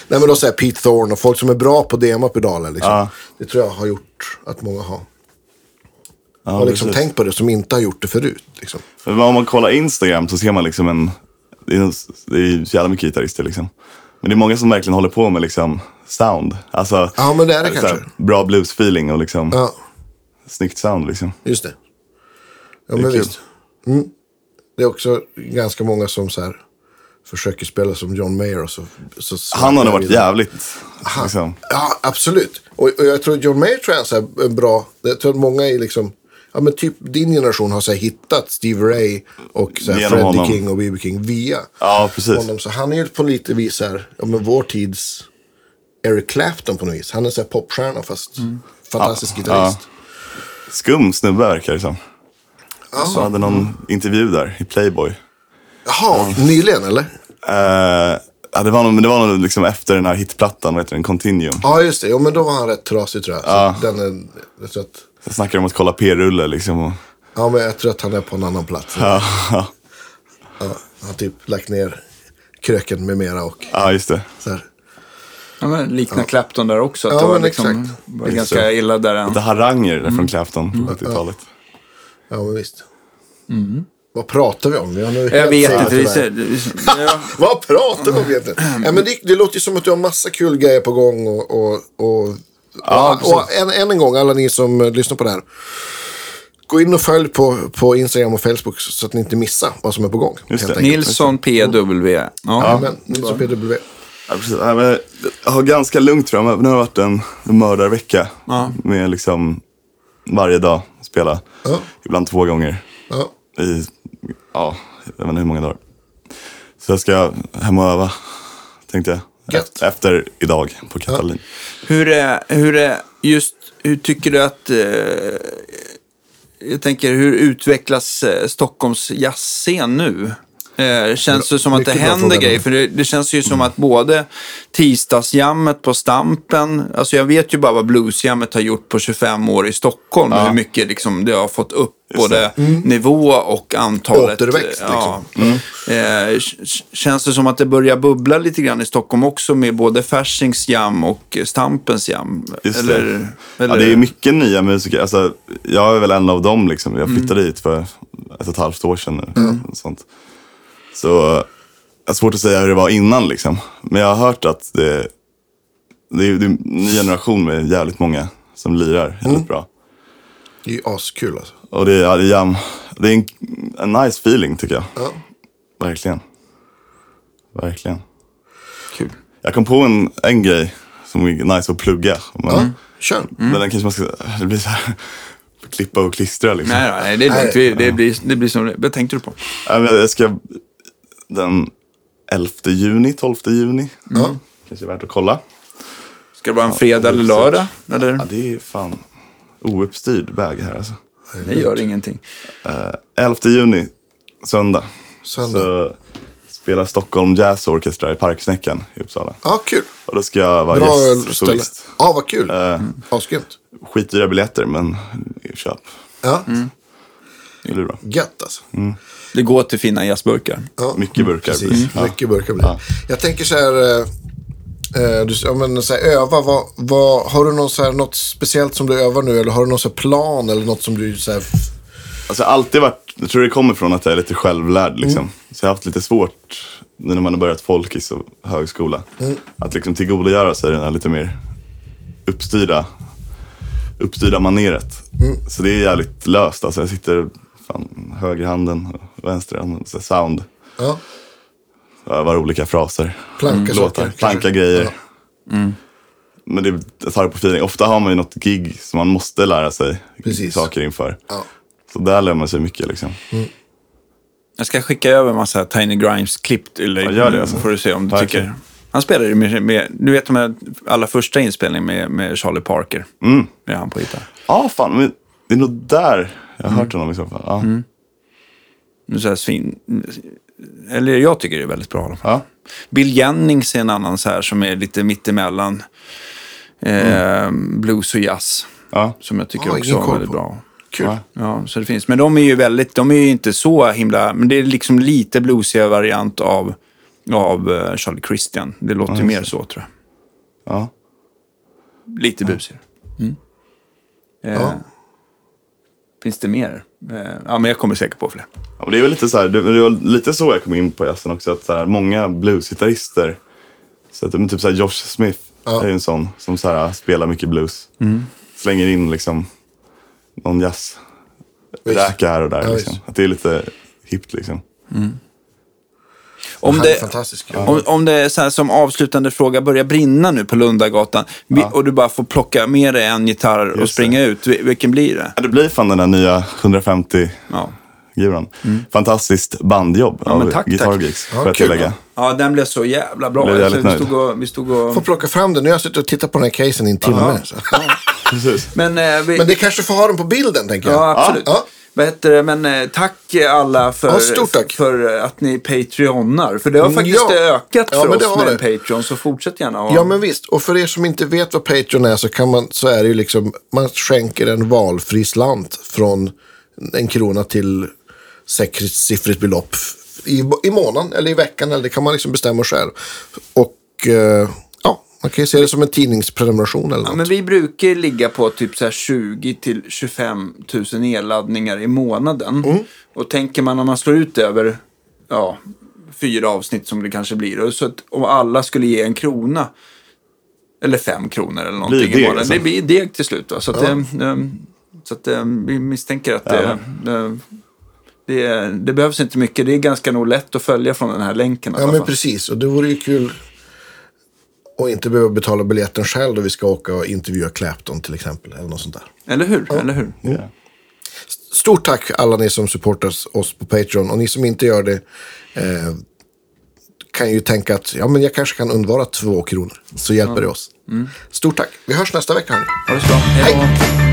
Nej men då säger Pete Thorne och folk som är bra på dema-pedaler. Liksom.
Ja.
Det tror jag har gjort att många har har liksom
precis.
tänkt på det som inte har gjort det förut. Liksom.
Men om man kollar Instagram så ser man liksom en... Det är, en- det är ju så jävla mycket gitarrister liksom. Men det är många som verkligen håller på med liksom sound. Alltså,
Ja, men det är det
så här,
kanske.
Bra bluesfeeling och liksom
Ja,
snyggt sound liksom.
just det. Ja,
Det är
men
kul.
visst. Mm. Det är också ganska många som så här, försöker spela som John Mayer. Och så, så, så
Han har nog varit jävligt... Liksom.
Ja, absolut. Och, och jag tror att John Mayer tror jag är så här en bra... Jag tror att många i liksom... Ja, men typ din generation har så här hittat Steve Ray och så här
Genom
Freddie
honom.
King och B.B. King via
Ja, precis.
honom. Så han är ju på lite vis så här, ja, men vår tids Eric Clapton på något vis. Han är så här popstjärna fast fantastisk gitarrist.
Skum snubbe verkar det som. Så hade någon intervju där i Playboy.
Jaha, nyligen eller?
Eh, ja, det var nog, men det var nog liksom efter den här hitplattan, vad heter den, Continuum.
Ja, just det. Jo, men då var han rätt trasig tror jag. Så den är, jag, tror att,
Så snackade de om att kolla p-rulle liksom. Och,
ja, men jag tror att han är på en annan plats.
ja, ja.
Han har typ lagt ner kröken med mera och
ja, just det.
så här.
Ja, men liknar Clapton där också. Att
Ja,
det var,
men
liksom,
exakt.
var ganska illa där. än.
Lite haranger där från Clapton på 70-talet.
Mm. Ja, men visst. Vad pratar vi om? Vi har nu
Jag
helt
vet
fel
inte. Vi
tyvärr.
ser, ja,
Vad pratar vi om egentligen? Ja, men det, det låter ju som att du har massa kul grejer på gång. Och, och, och, och, och än, än en gång, alla ni som eh, lyssnar på det här. Gå in och följ på, på Instagram och Facebook så så att ni inte missar vad som är på gång.
Just
helt
det.
enkelt.
Nilsson PW. Ja.
Men, Nils och PW.
Ja, precis. Ja, men jag har ganska lugnt framöver. Nu har det varit en mördarvecka. Med liksom varje dag spela.
Ja.
Ibland två gånger.
Ja.
I, ja, jag vet inte hur många dagar. Så jag ska hem och öva. Tänkte jag.
Gött.
Efter idag på Katalin.
Hur är, hur är, just, hur tycker du att, eh, jag tänker hur utvecklas eh, Stockholms jazzscen nu? Eh, känns det som att det
mycket bra
händer
fråga.
grejer? För det, det känns ju som att både tisdagsjammet på Stampen, alltså jag vet ju bara vad bluesjammet har gjort på 25 år i Stockholm, hur mycket liksom det har fått upp både nivå och antalet.
Återväxt,
eh,
liksom.
Mm.
Eh, k- k- känns det som att det börjar bubbla lite grann i Stockholm också med både Fersings jam och eh, Stampens jam?
Just
eller,
det.
eller,
Ja, det är mycket nya musiker. Alltså, jag är väl en av dem. Liksom.
Mm.
Jag flyttade hit för ett och ett halvt år sedan. nu, och Sånt. Så jag har svårt att säga hur det var innan. Liksom. Men jag har hört att det, det, är, det är en ny generation med jävligt många som lirar jävligt
Mm.
bra.
Det är ju askul alltså.
Och det, är- ja, det är, jam, det är en, en nice feeling tycker jag.
Ja.
Verkligen. Verkligen.
Kul.
Jag kom på en, en grej som är nice att plugga. Men-
Mm.
Ja, kör.
Men den kanske man ska det blir så här, klippa och klistra liksom.
Nej, då, nej, det är lugnt. Vi- Det blir, det blir som det. Vad tänkte du på?
Nej, men Jag ska den 11 juni, 12 juni.
Mm.
Ja.
Kanske är värt att kolla.
Ska det vara en fredag eller lördag? Eller?
Ja, det är fan ouppstyrd väg här alltså.
Det gör ingenting.
11 juni, söndag.
Söndag.
Så spelar Stockholm Jazz Orchestra i Parksnäcken i Uppsala.
Ja, kul.
Och då ska jag vara
Bra ställe.
gästsolist.
Ja, vad kul.
Eh.
Asgrymt.
Skitdyra biljetter, men köp.
Ja,
Mm.
Det blir bra.
gött alltså.
Det går till fina jazzburkar.
Ja.
Mycket burkar
Precis,
precis. Ja.
mycket burkar blir det. Jag tänker så här, eh, eh, du, ja, men, så här öva, vad, vad, har du någon så här, något speciellt som du övar nu eller har du någon så här plan eller något som du så här, f-
Alltså jag har alltid varit, jag tror det kommer från att jag är lite självlärd liksom.
Mm.
Så jag har haft lite svårt nu när man har börjat folkis och högskola.
Mm.
Att liksom tillgodogöra sig den här lite mer uppstyrda, uppstyrda maneret.
Mm.
Så det är jävligt löst alltså. Jag sitter fan, högerhanden och vänsterhanden, så här sound.
ja,
Övar olika fraser,
planka saker?
låtar,
kanske?
planka grejer.
Ja. Mm.
Men det jag tar det på feeling. Ofta har man ju något gig som man måste lära sig
Precis.
saker inför.
Ja.
Så där lär man sig mycket liksom.
Jag ska skicka över en massa Tiny Grimes-klipp till dig.
Ja, gör det, alltså.
får du se om du
Verkligen.
tycker. Han spelade ju med, med, du vet de här allra första inspelningen med, med Charlie Parker. Mm. Med han på gitarr.
Ja, fan. Men det är nog där jag har hört honom i så fall. Ja.
Mm.
Nu så här svin... Eller jag tycker det är väldigt bra i alla fall.
Ja.
Bill Jennings är en annan så här som är lite mittemellan eh, blues och jazz.
Mm. Ja.
Som jag tycker
Ah,
också
ingen
är
koll
väldigt
på.
bra.
Kul.
Ja.
Ja, så det finns. Men de är ju väldigt, de är ju inte så himla, men det är liksom lite bluesiga variant av, av eh, Charlie Christian. Det låter ju mer så tror
Ja.
jag. Lite busigare. Mm. Eh, Finns det mer? Eh, Ja, men jag kommer säkert på fler.
Ja, men det är väl lite så här, det det var lite så jag kom in på jazzen också. Att så här, många bluesgitarrister, så att, men typ så här Josh Smith
Ja. Mm.
är ju en sån som så här, spelar mycket blues. Slänger in liksom någon jazz
Visst.
räka här och där.
Ja,
liksom.
visst.
Att det är lite hippt liksom.
Om
Han är
det,
fantastisk.
om, om det är så här som avslutande fråga, börjar brinna nu på Lundagatan vi, och du bara får plocka med dig en gitarr och
Just
springa ut, vi- vilken blir det?
Ja, det blir fan den där nya 150
Ja.
guran.
Mm.
Fantastiskt bandjobb
men
av
tack, tack.
Guitar Geeks.
Ja,
får jag
kul.
tillägga.
Ja, den blev så jävla bra.
Blev
Alltså,
jävligt
vi, stod och, vi stod och...
Får plocka fram den. Nu har jag suttit och tittat på den här casen i en timme. Så.
Precis.
Men, eh, vi,
Men det kanske får ha den på bilden, tänker jag.
Ja, absolut.
Ja.
Vad heter det? Men eh, tack alla för,
Ja, stort tack. Mm,
för att ni Patreonar. För det har faktiskt
Ja.
ökat
Ja,
för
men det
oss
har
med
det.
en Patreon, så fortsätt gärna. ha-
Ja, men visst. Och för er som inte vet vad Patreon är så, kan man, så är det ju liksom, man skänker en valfri slant från en krona till sexsiffrigt belopp f- i, i månaden eller i veckan. Eller det kan man liksom bestämma själv. Och eh, ja, man kan ju se det som en tidningsprenumeration eller något.
Men vi brukar ligga på typ så här 20 till 25 000 nedladdningar i månaden. Och tänker man om man slår ut det över ja, fyra avsnitt som det kanske blir. och Så att om alla skulle ge en krona. Eller fem kronor eller någonting
deg
i månaden.
alltså.
Det blir deg till slut. Va? Så, att, eh, eh, så att, eh, vi misstänker att det, eh, det, det behövs inte mycket. Det är ganska nog lätt att följa från den här länken. i
Ja,
alla
men
fall.
precis. Och det vore ju kul att inte behöva betala biljetten själv då vi ska åka och intervjua Clapton till exempel. Eller något sånt där.
Eller hur? Eller hur?
Ja.
Stort tack alla ni som supportar oss på Patreon. Och ni som inte gör det eh, kan ju tänka att ja, men jag kanske kan undvara två kronor. Så hjälper det oss. Stort tack. Vi hörs nästa vecka. Hörni.
Ha det så bra. Hej då.